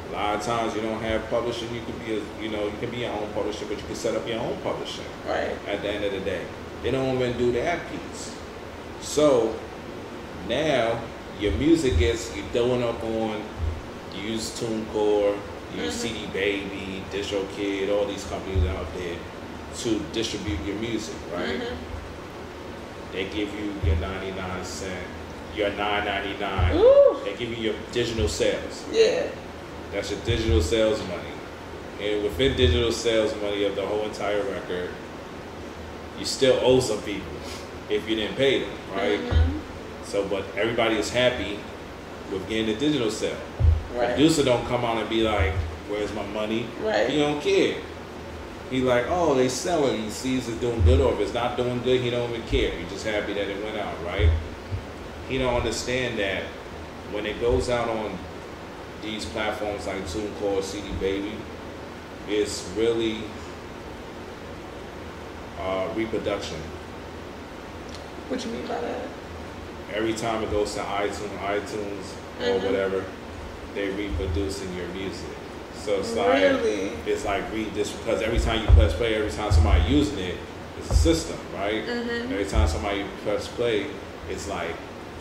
a lot of times you don't have publishing. You could be a, you know you can be your own publisher, but you can set up your own publishing Right. at the end of the day. They don't even do that piece. So now your music gets you're throwing up on you use TuneCore, you use CD Baby, Distro Kid, all these companies out there to distribute your music, right? Mm-hmm. They give you your 99 cent, your 9.99. Ooh. They give you your digital sales. Yeah. That's your digital sales money. And within digital sales money of the whole entire record, you still owe some people if you didn't pay them, right? Mm-hmm. So, but everybody is happy with getting the digital sale. Right. Producer don't come out and be like, "Where's my money?" Right. He don't care. He like, "Oh, they selling." He sees it's doing good, or if it's not doing good, he don't even care. He just happy that it went out, right? He don't understand that when it goes out on these platforms like TuneCore, CD Baby, it's really uh, reproduction. What you mean by that? every time it goes to iTunes, iTunes or Mhm. whatever, they reproducing your music. So it's like Really? it's like read this because every time you press play, every time somebody using it, it's a system, right? Mhm. Every time somebody press play, it's like,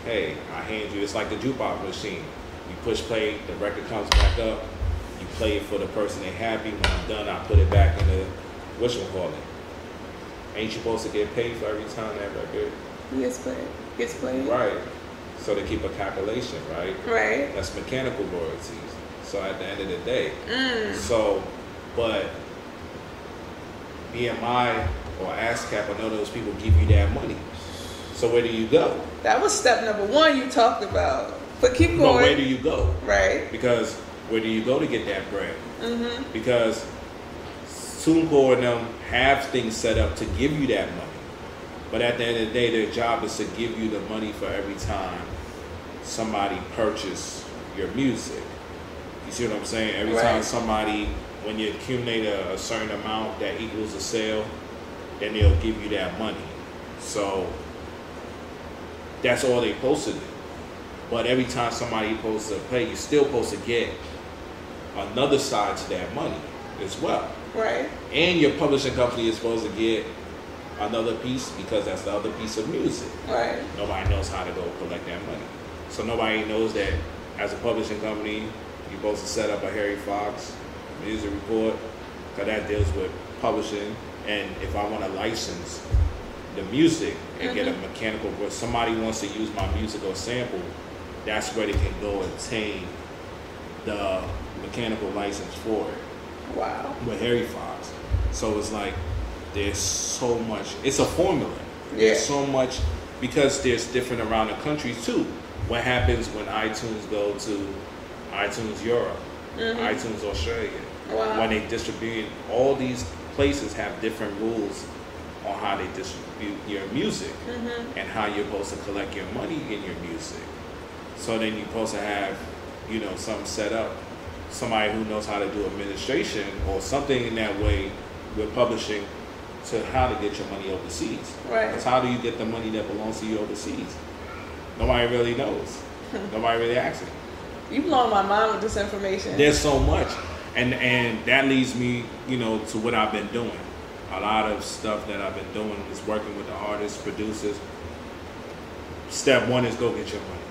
hey, I hand you. It's like the jukebox machine. You push play, the record comes back up. You play it for the person they happy. When I'm done, I put it back in the what you call it. Ain't you supposed to get paid for every time that record? Gets played. Gets played. Right. So they keep a calculation, right? Right. That's mechanical royalties. So at the end of the day, Mm. so, but BMI or ASCAP, I know those people give you that money. So where do you go? That was step number one you talked about. But keep But where going. do you go? right. Because where do you go to get that bread? Mm-hmm. Because TuneCore and them have things set up to give you that money. But at the end of the day, their job is to give you the money for every time somebody purchase your music. You see what I'm saying? Every time Right. somebody, when you accumulate a, a certain amount that equals a sale, then they'll give you that money. So that's all they posted. But every time somebody posts a play, you're still supposed to get another side to that money as well. Right. And your publishing company is supposed to get another piece because that's the other piece of music. Right. Nobody knows how to go collect that money. So nobody knows that as a publishing company, you're supposed to set up a Harry Fox music report because that deals with publishing. And if I want to license the music and get a mechanical, if somebody wants to use my music or sample, that's where they can go obtain the mechanical license for it Wow. with Harry Fox. So it's like there's so much. It's a formula. There's Yeah. so much because there's different around the country too. What happens when iTunes go to iTunes Europe, iTunes Australia? Mm-hmm. Wow. When they distribute, all these places have different rules on how they distribute your music Mm-hmm. and how you're supposed to collect your money in your music. So then you're supposed to have, you know, something set up, somebody who knows how to do administration or something in that way with publishing to how to get your money overseas. Right. Because how do you get the money that belongs to you overseas? Nobody really knows. Nobody really asks. it. You blown my mind with this information. There's so much, and and that leads me, you know, to what I've been doing. A lot of stuff that I've been doing is working with the artists, producers. Step one is go get your money.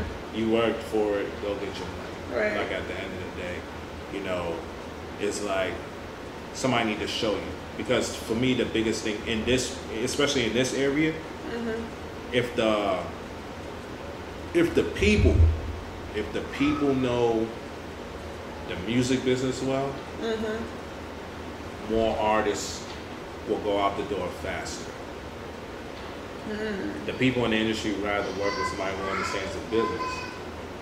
Hmm. You worked for it, go get your money. Right. Like at the end of the day, you know, it's like somebody need to show you. Because for me, the biggest thing in this, especially in this area, Mm-hmm. if the if the people if the people know the music business well, Mm-hmm. more artists will go out the door faster. The people in the industry would rather work with somebody who understands the business.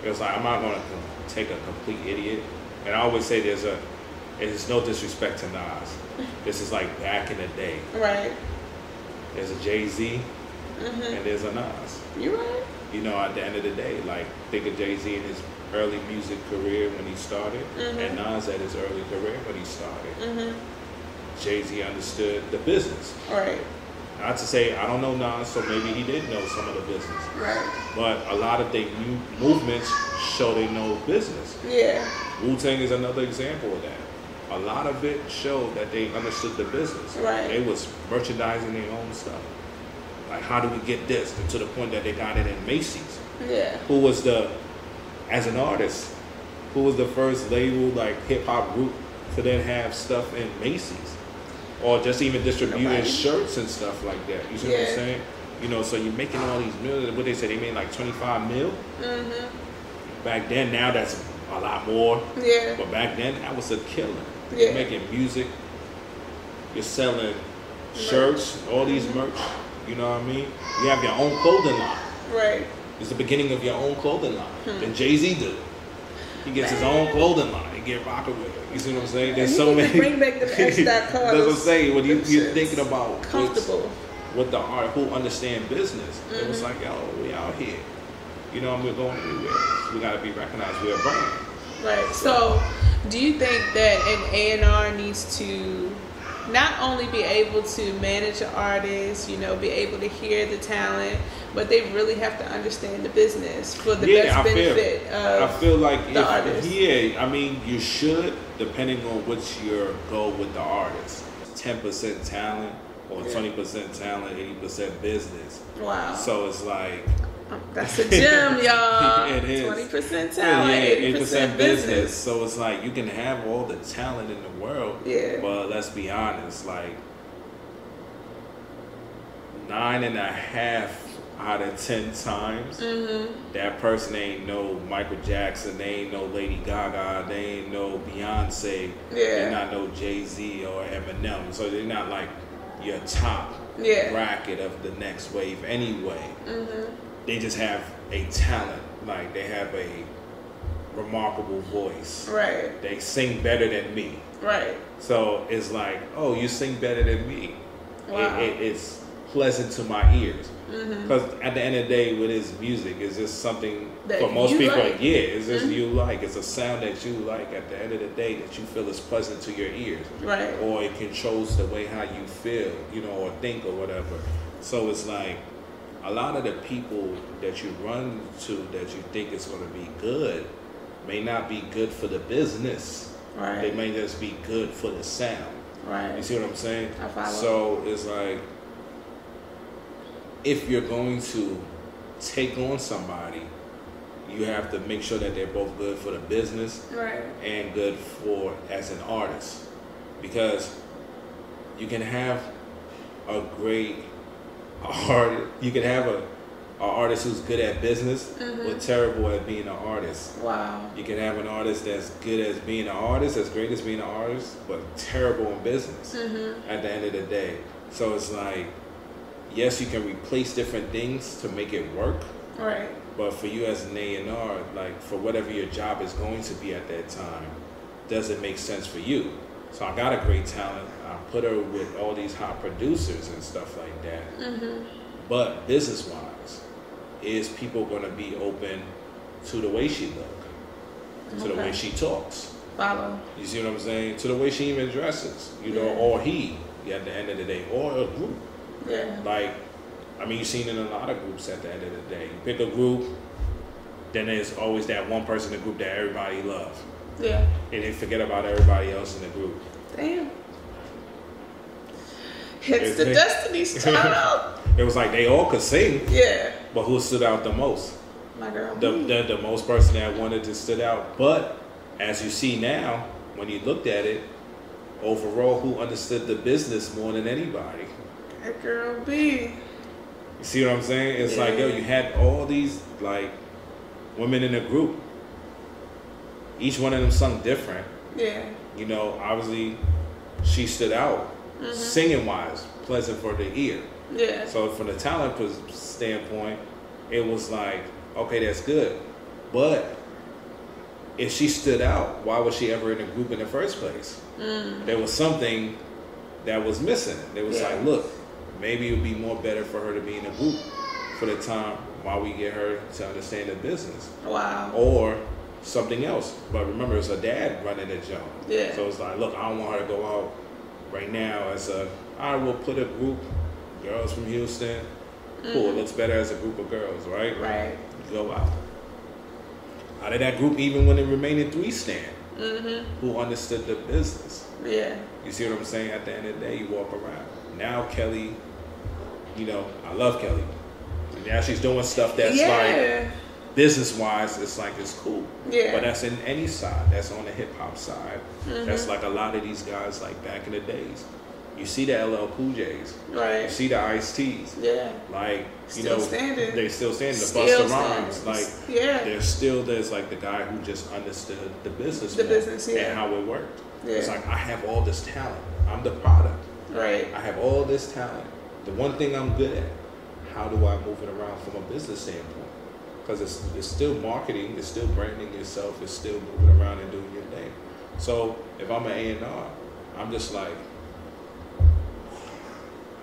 It's like I'm not going to take a complete idiot. And I always say there's a, and it's no disrespect to Nas. This is like back in the day. Right. There's a Jay Z, and there's a Nas You right. you know, at the end of the day, like think of Jay Z in his early music career when he started, and Nas at his early career when he started. Jay Z understood the business. Right. Not to say I don't know Nas, so maybe he did know some of the business, Right. but a lot of their new movements show they know business. Yeah. Wu Tang is another example of that. A lot of it showed that they understood the business. Right. They was merchandising their own stuff. Like, how do we get this? And to the point that they got it in Macy's Yeah. who was the as an artist who was the first labeled like hip hop group to then have stuff in Macy's or just even distributing Nobody. shirts and stuff like that. You see what I'm Yeah. saying? You know, so you're making all these millions. What they say they made like 25 mil Mm-hmm. back then. Now that's a lot more, Yeah. but back then that was a killer. Yeah. You're making music. You're selling shirts, all these merch. You know what I mean? You have your own clothing line. Right. It's the beginning of your own clothing line. Hmm. And Jay Z did. it. He gets his own clothing line and get rocked with. it. You see what I'm saying? There's he so need to many. bring back them X dot That's what I'm Carter's, saying. When you, them you're shits. thinking about what's- Comfortable. Mm-hmm. with the art who understand business. It was like, yo, we out here. You know, we're going anywhere. We gotta be recognized. We're a brand. Right. So, do you think that an A and R needs to not only be able to manage an artist, you know, be able to hear the talent, but they really have to understand the business for the best benefit I of feel like the if- artist. Yeah, I mean, you should, depending on what's your goal with the artist. Ten percent talent or Yeah. twenty percent talent, eighty percent business. wow. So it's like Um, That's a gem, y'all. It is. Twenty percent talent, eighty percent business. So it's like you can have all the talent in the world, Yeah. But let's be honest, like nine and a half out of ten times, Mm-hmm. that person ain't no Michael Jackson, they ain't no Lady Gaga, they ain't no Beyonce, Yeah. they're not no Jay Z or Eminem. So they're not like your top Yeah. bracket of the next wave anyway Mm-hmm. they just have a talent. Like they have a remarkable voice. Right, They sing better than me. right. So it's like, oh, you sing better than me. Wow. Mm-hmm. It, it, it's pleasant to my ears. Because at the end of the day, with his music, it's just something That for most you people. like. Mm-hmm. Yeah, it's just you like. It's a sound that you like. At the end of the day, that you feel is pleasant to your ears Right. or it controls the way how you feel, you know, or think or whatever. So it's like a lot of the people that you run to that you think is going to be good may not be good for the business. They Right. may just be good for the sound. You Right. see what I'm saying? I follow. So it's like if you're going to take on somebody, you have to make sure that they're both good for the business Right. and good for as an artist because you can have a great art you can have a, a artist who's good at business but terrible at being an artist Wow. you can have an artist that's good as being an artist as great as being an artist but terrible in business at the end of the day so it's like yes you can replace different things to make it work Right. but for you as an A and R, like for whatever your job is going to be at that time, does it make sense for you? So I got a great talent. I put her with all these hot producers and stuff like that. Mm-hmm. But business wise, is people going to be open to the way she look, to the Okay. way she talks? Follow. You see what I'm saying? To the way she even dresses, you know, Yeah. or he at the end of the day, or a group. Yeah. Like, I mean, you've seen it in a lot of groups at the end of the day. You pick a group, then there's always that one person in the group that everybody loves. Yeah. And they forget about everybody else in the group. Damn. It's the It's- Destiny's Child. It was like they all could sing, yeah. but who stood out the most? My girl. The, me. the, the most person that wanted to stood out. But as you see now, when you looked at it, overall, who understood the business more than anybody? That girl B. You see what I'm saying? It's like, yo, Yeah. you had all these like women in a group. Each one of them sung different. Yeah. You know, obviously she stood out singing wise, pleasant for the ear. Yeah. So from the talent pers- standpoint, it was like, okay, that's good. But if she stood out, why was she ever in a group in the first place? There was something that was missing. It was Mm. Yeah. like, look, maybe it would be more better for her to be in a group for the time while we get her to understand the business Wow. or something else. But remember, it's her dad running the job. Yeah. So it's like, look, I don't want her to go out right now as a. I will put a group, girls from Houston. Cool, it looks better as a group of girls, right? Mm-hmm. Right. Go out. Out of that group, even when the remaining three stand, Mm-hmm. who understood the business. Yeah. You see what I'm saying? At the end of the day, you walk around. Now Kelly, you know, I love Kelly. Now she's doing stuff that's like yeah. business wise, it's like it's cool. Yeah. But that's in any side. That's on the hip hop side. Mm-hmm. That's like a lot of these guys like back in the days. You see the LL Cool J's. You right. see the Ice T's. Yeah. Like you Still know, standing. they still standing. The Still Busta standing. Rhymes, like Yeah. there's still there's like the guy who just understood the business, The more business, yeah. and how it worked. Yeah. It's like I have all this talent. I'm the product. Right. I have all this talent. The one thing I'm good at, how do I move it around from a business standpoint? Because it's, it's still marketing, it's still branding yourself, it's still moving around and doing your thing. So if I'm an A&R, I'm just like,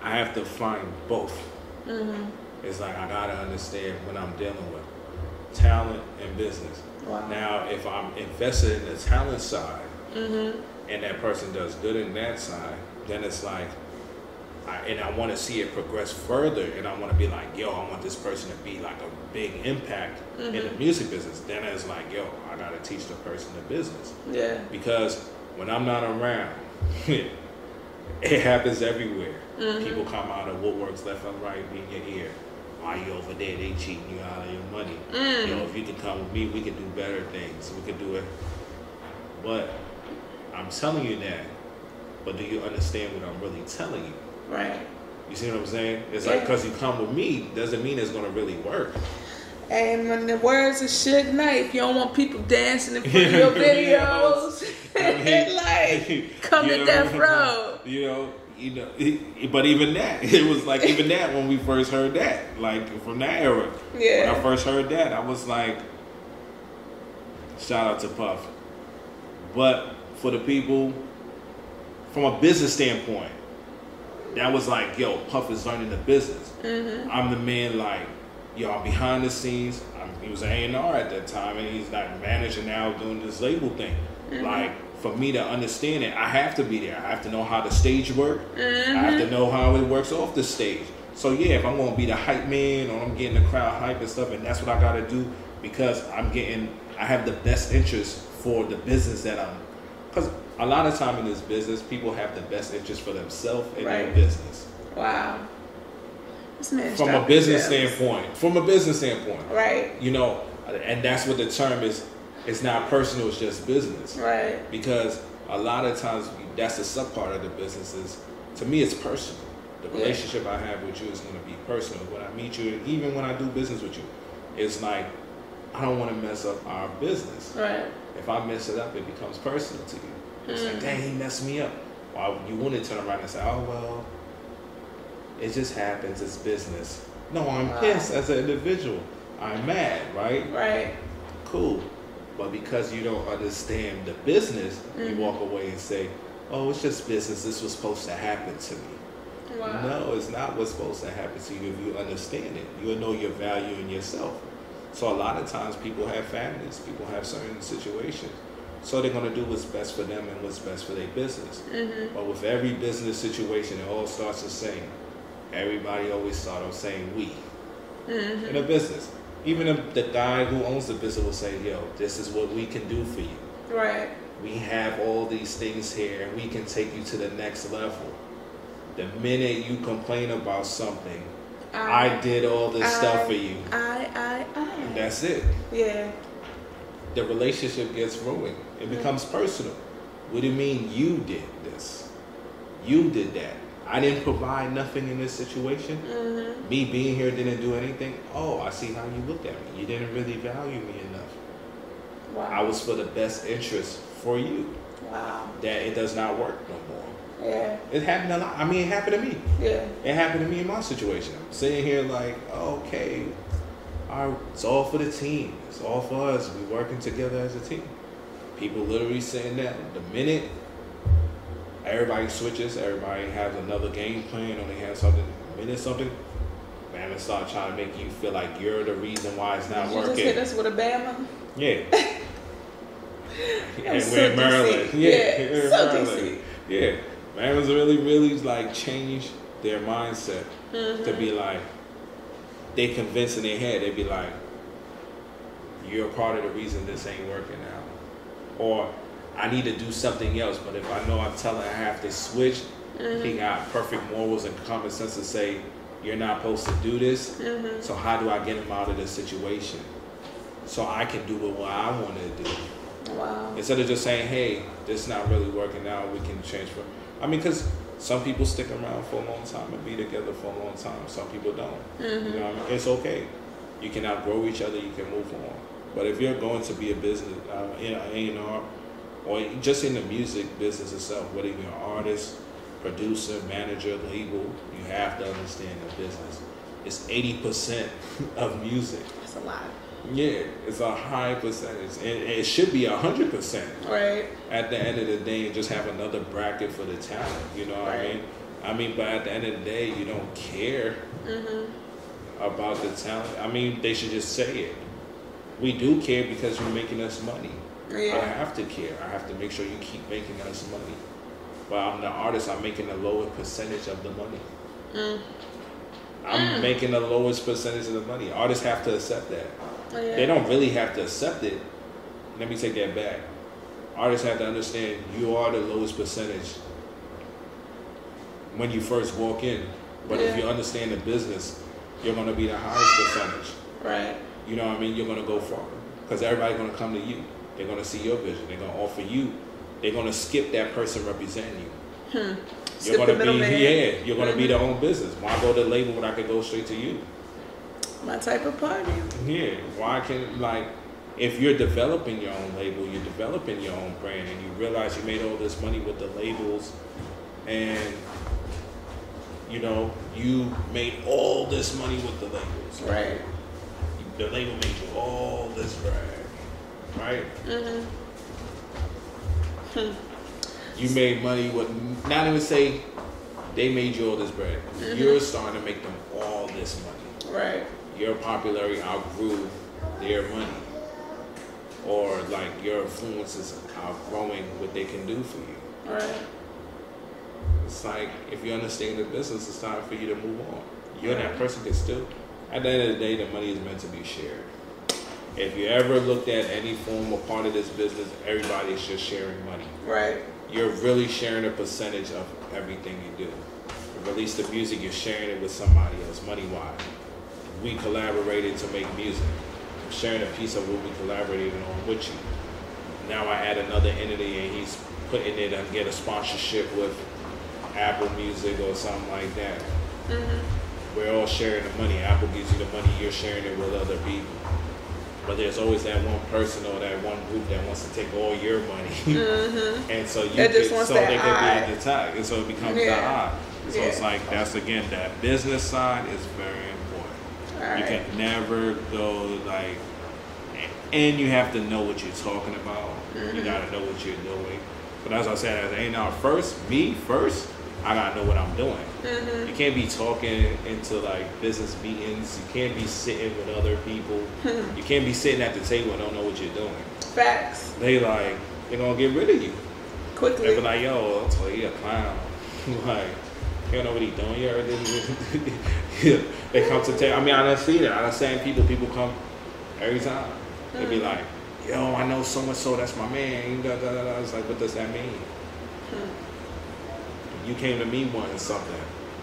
I have to find both. It's like I gotta understand what I'm dealing with, talent and business. Wow. Now, if I'm invested in the talent side, and that person does good in that side, then it's like, I, and I want to see it progress further, and I want to be like, yo, I want this person to be like a big impact in the music business. Then it's like, yo, I gotta teach the person the business Yeah. because when I'm not around, it happens everywhere. People come out of woodworks left and right, be in your ear. Why you over there? They cheating you out of your money. You know, if you can come with me, we can do better things. We can do it. But I'm telling you that. But do you understand what I'm really telling you? Right. You see what I'm saying? It's like Yeah. because you come with me doesn't mean it's gonna really work. And when the words of Suge Knight, if you don't want people dancing in front of your videos, like come You to know, death row. You know, you know. it- but even that, it was like even that when we first heard that, like from that era. When I Yeah. first heard that, I was like, shout out to Puff. But for the people, from a business standpoint, that was like, yo, Puff is learning the business. I'm the man, like, yo, I'm behind the scenes. I'm, he was an A&R at that time, and he's like managing now, doing this label thing. Like, for me to understand it, I have to be there. I have to know how the stage work. I have to know how it works off the stage. So yeah, if I'm gonna be the hype man or I'm getting the crowd hype and stuff, and that's what I gotta do because I'm getting, I have the best interest for the business that I'm. Because a lot of time in this business, people have the best interest for themselves and Right. their business Wow. This man's from a dropping business gems. standpoint. From a business standpoint, Right. you know, and that's what the term is. It's not personal; it's just business. Right. Because a lot of times that's the subpart of the business is, to me, it's personal. The Yeah. relationship I have with you is going to be personal. When I meet you, and even when I do business with you, it's like I don't want to mess up our business. Right. If I mess it up, it becomes personal to you. It's like, dang, he messed me up. Why would you want to turn around and say, oh, well, it just happens. It's business. No, I'm Wow. pissed as an individual. I'm mad, right? Right. Cool. But because you don't understand the business, you walk away and say, oh, it's just business. This was supposed to happen to me. Wow. No, it's not what's supposed to happen to you if you understand it. You'll know your value in yourself. So a lot of times people have families, people have certain situations. So they're gonna do what's best for them and what's best for their business. But with every business situation, it all starts the same. Everybody always start off saying we in a business. Even if the guy who owns the business will say, "Yo, this is what we can do for you. Right. We have all these things here, and we can take you to the next level." The minute you complain about something, Um, I did all this stuff for you. I. I. I. That's it. yeah. The relationship gets ruined. It becomes personal. What do you mean you did this? You did that. I didn't provide nothing in this situation. Mm-hmm. Me being here didn't do anything. Oh, I see how you looked at me. You didn't really value me enough. Wow. I was for the best interest for you. Wow. That it does not work no more. Yeah. It happened a lot. I mean, it happened to me. Yeah. It happened to me in my situation. I'm sitting here like, okay, our, it's all for the team. It's all for us. We working together as a team. People literally saying that the minute everybody switches, everybody has another game plan, or they have something, the minute something, man, they start trying to make you feel like you're the reason why it's not Did you just hit working. us with a bama. Yeah. and so we're in Maryland. DC. Yeah, Yeah, we're in so Maryland. DC. Yeah, Maryland's really, really like changed their mindset Mm-hmm. to be like they convince in their head. They be like, "You're a part of the reason this ain't working out," or "I need to do something else." But if I know I'm telling, I have to switch. Mm-hmm. He got perfect morals and common sense to say, "You're not supposed to do this." Mm-hmm. So how do I get him out of this situation? So I can do what I want to do Wow. instead of just saying, "Hey, this not really working out. We can transfer." I mean, because some people stick around for a long time and be together for a long time. Some people don't. You know, what I mean? it's okay. You can outgrow each other. You can move on. But if you're going to be a business, uh, you know, A and R, or just in the music business itself, whether you're an artist, producer, manager, legal, you have to understand the business. It's eighty percent of music. That's a lot, Yeah, it's a high percentage, and it should be hundred percent right? at the end of the day and just have another bracket for the talent. You know what I Right. mean? I mean, but at the end of the day, you don't care Mm-hmm. about the talent. I mean, they should just say it. We do care because you're making us money. I Yeah, have to care. I have to make sure you keep making us money. But I'm the artist. I'm making the lowest percentage of the money. Mm. I'm making the lowest percentage of the money. Artists have to accept that. yeah. They don't really have to accept it. Let me take that back. Artists have to understand you are the lowest percentage when you first walk in. But if Yeah. you understand the business, you're going to be the highest percentage. right, You know what I mean? You're gonna go far because everybody's gonna come to you. They're gonna see your vision. They're gonna offer you. They're gonna skip that person representing you. Skip the you're gonna be middleman. Mm-hmm. yeah. You're gonna be their own business. Why go to label when I could go straight to you? Mm-hmm. my type of party. Yeah. Why can like if you're developing your own label, you're developing your own brand, and you realize you made all this money with the labels, and you know you made all this money with the labels. Right. The label made you all this brand, right? Mm-hmm. You made money with not even say they made you all this bread. Mm-hmm. You're starting to make them all this money. Right. Your popularity outgrew their money, or like your influences outgrowing what they can do for you. Right. It's like if you understand the business, it's time for you to move on. You and that person can still. At the end of the day, the money is meant to be shared. If you ever looked at any form or part of this business, everybody's just sharing money. Right. you're really sharing a percentage of everything you do. You release the music, you're sharing it with somebody else, money wise. We collaborated to make music. I'm sharing a piece of what we collaborated on with you. Now I add another entity and he's putting it and get a sponsorship with Apple Music or something like that. Mm-hmm. We're all sharing the money. Apple gives you the money, you're sharing it with other people. But there's always that one person or that one group that wants to take all your money. And so you Mm-hmm. That just could- wants so that they could be eye. at the top. And so it becomes the Yeah. eye. So it's Yeah. like that's again that business side is very important. All You right. can never go like a- and you have to know what you're talking about. You gotta know what you're doing. But as I said, as ain't our first, me first, I gotta know what I'm doing. You can't be talking into like business meetings. You can't be sitting with other people. You can't be sitting at the table and don't know what you're doing. Facts. They like they're gonna get rid of you. They Quickly. be like, yo, that's like he a clown. like, he don't know what he doing. You heard this? they come to tell. I mean, I done see that. I done seen people. People come every time. They be like, yo, I know so and so. That's my man. Da, da, da, da. It's like, what does that mean? You came to me wanting something.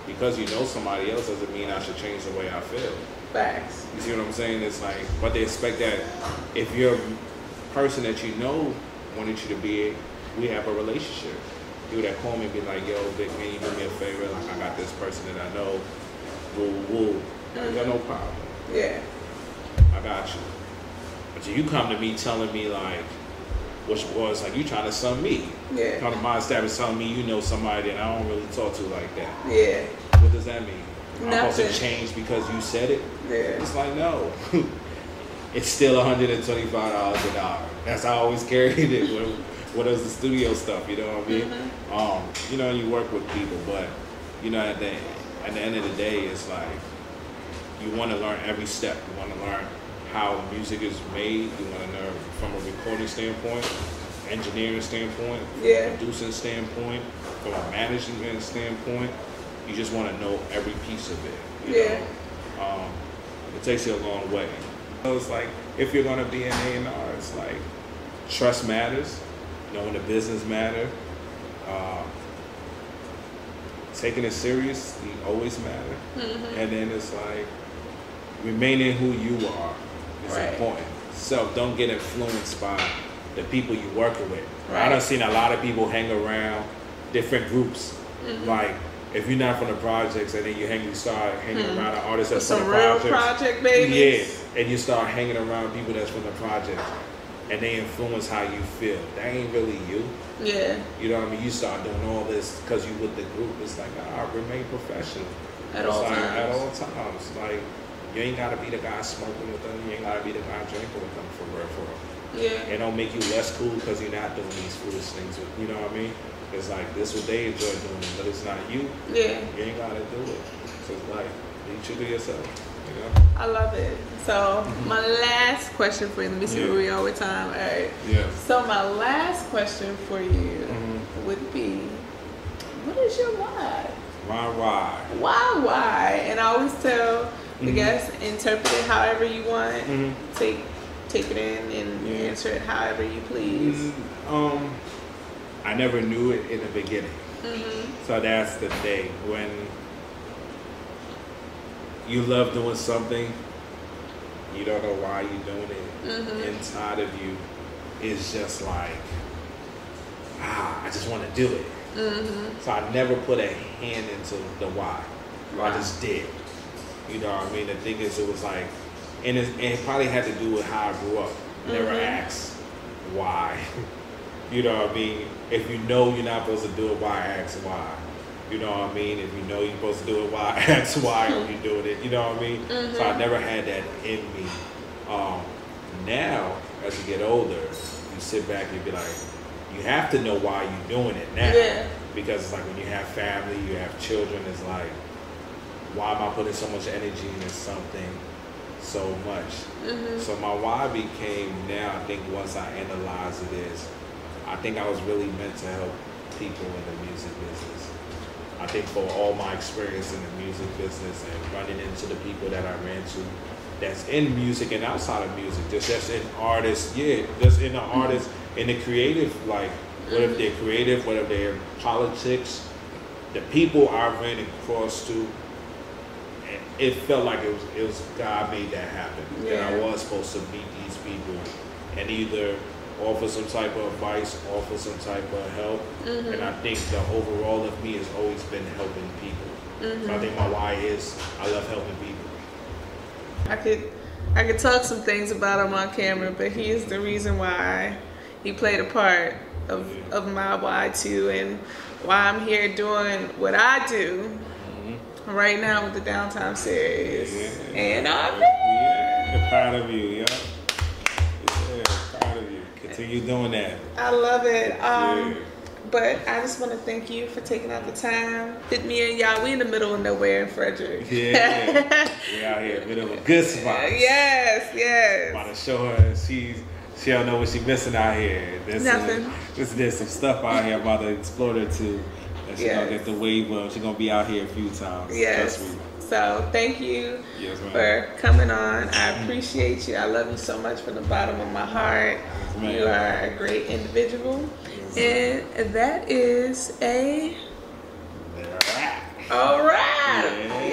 Because you know somebody else doesn't mean I should change the way I feel. Facts. You see what I'm saying? It's like, but they expect that if you're a person that you know wanted you to be, we have a relationship. You would have called me and be like, yo, Vic, can you do me a favor? Like, I got this person that I know, woo, woo. I got no problem. Yeah. I got you. But you come to me telling me, like, which was like, you trying to sum me. Yeah. Come to my establishment telling me you know somebody that I don't really talk to like that. Yeah. What does that mean? I'm supposed Nothing. to change because you said it? Yeah. It's like no. it's still $125 an hour. That's how I always carried it. What, what is the studio stuff? You know what I mean? Mm-hmm. Um, you know, you work with people, but you know at the at the end of the day, it's like you want to learn every step. You want to learn how music is made. You want to learn from a recording standpoint, engineering standpoint, from Yeah. a producing standpoint, from a management standpoint. You just want to know every piece of it. You Yeah. Know? Um, it takes you a long way. So it's like if you're gonna be an A and R, it's like trust matters, knowing the business matter, uh, taking it serious it always matter, Mm-hmm. and then it's like remaining who you are is Right. important. So don't get influenced by the people you working with. I Right. done seen a lot of people hang around different groups. Mm-hmm. Like if you're not from the projects, and then you hang you start hanging Mm-hmm. around an artist that's Some from the real projects. project babies. Yeah, and you start hanging around people that's from the project, and they influence how you feel. That ain't really you. Yeah. You know what I mean? You start doing all this because you with the group. It's like I remain professional At It's all like, At times. all times, like you ain't gotta be the guy smoking with them. You ain't gotta be the guy drinking with them for real, for real. Yeah. It don't make you less cool because you're not doing these foolish things. With, you know what I mean? It's like this what they enjoy doing, but it's not you. Yeah. You ain't gotta do it. So it's like be true to yourself. You know? I love it. So my last question for you. Let me see Yeah. where we are with time. All right. Yeah. So my last question for you Mm-hmm. would be, what is your why? Why? Why? Why? Why? And I always tell the Mhm. guests interpret it however you want. Mhm. Take take it in and Yeah. answer it however you please. Um, I never knew it in the beginning. Mm-hmm. So that's the thing. When you love doing something, you don't know why you're doing it. Mm-hmm. Inside of you is just like, ah, I just want to do it. Mm-hmm. So I never put a hand into the why. Wow. I just did. You know what I mean? The thing is, it was like, and it, and it probably had to do with how I grew up. Never Mhm. asked why. you know what I mean? If you know you're not supposed to do it, why ask why? You know what I mean? If you know you're supposed to do it, why ask why are you doing it? You know what I mean? So Mm-hmm. I never had that in me. Um, now, as you get older, you sit back and be like, you have to know why you're doing it now Yeah. because it's like when you have family, you have children, it's like, why am I putting so much energy into something so much? Mm-hmm. So my why became now, I think once I analyze it is, I think I was really meant to help people in the music business. I think for all my experience in the music business and running into the people that I ran to that's in music and outside of music, just that's in artists, yeah, just in the artists, in the creative, like, what if they're creative, what if they're in politics, the people I ran across to, and it felt like it was, it was God made that happen. Yeah. And I was supposed to meet these people and either offer some type of advice, offer some type of help. And I think the overall of me has always been helping people. So I think my why is I love helping people. I could I could talk some things about him on camera, but he is the reason why he played a part of Yeah. of my why too and why I'm here doing what I do right now with the downtime series. And I'm yeah, proud of you, yeah. Yeah, proud of you. Continue doing that. I love it. Um Yeah. But I just want to thank you for taking out the time. Hit me and y'all. We in the middle of nowhere in Frederick. Yeah. We out here, bit of a good spot. yes, yes. about to show her she's she don't know what she missing out here. This Nothing. Is, this there's some stuff out here about to explore her too. And she gonna Yes. get the wave of. She gonna be out here a few times. Yes. Trust me. So thank you Yes, ma'am. for coming on. I appreciate you. I love you so much from the bottom of my heart. ma'am. You are a great individual. And that is a They're a wrap. all right. Yeah.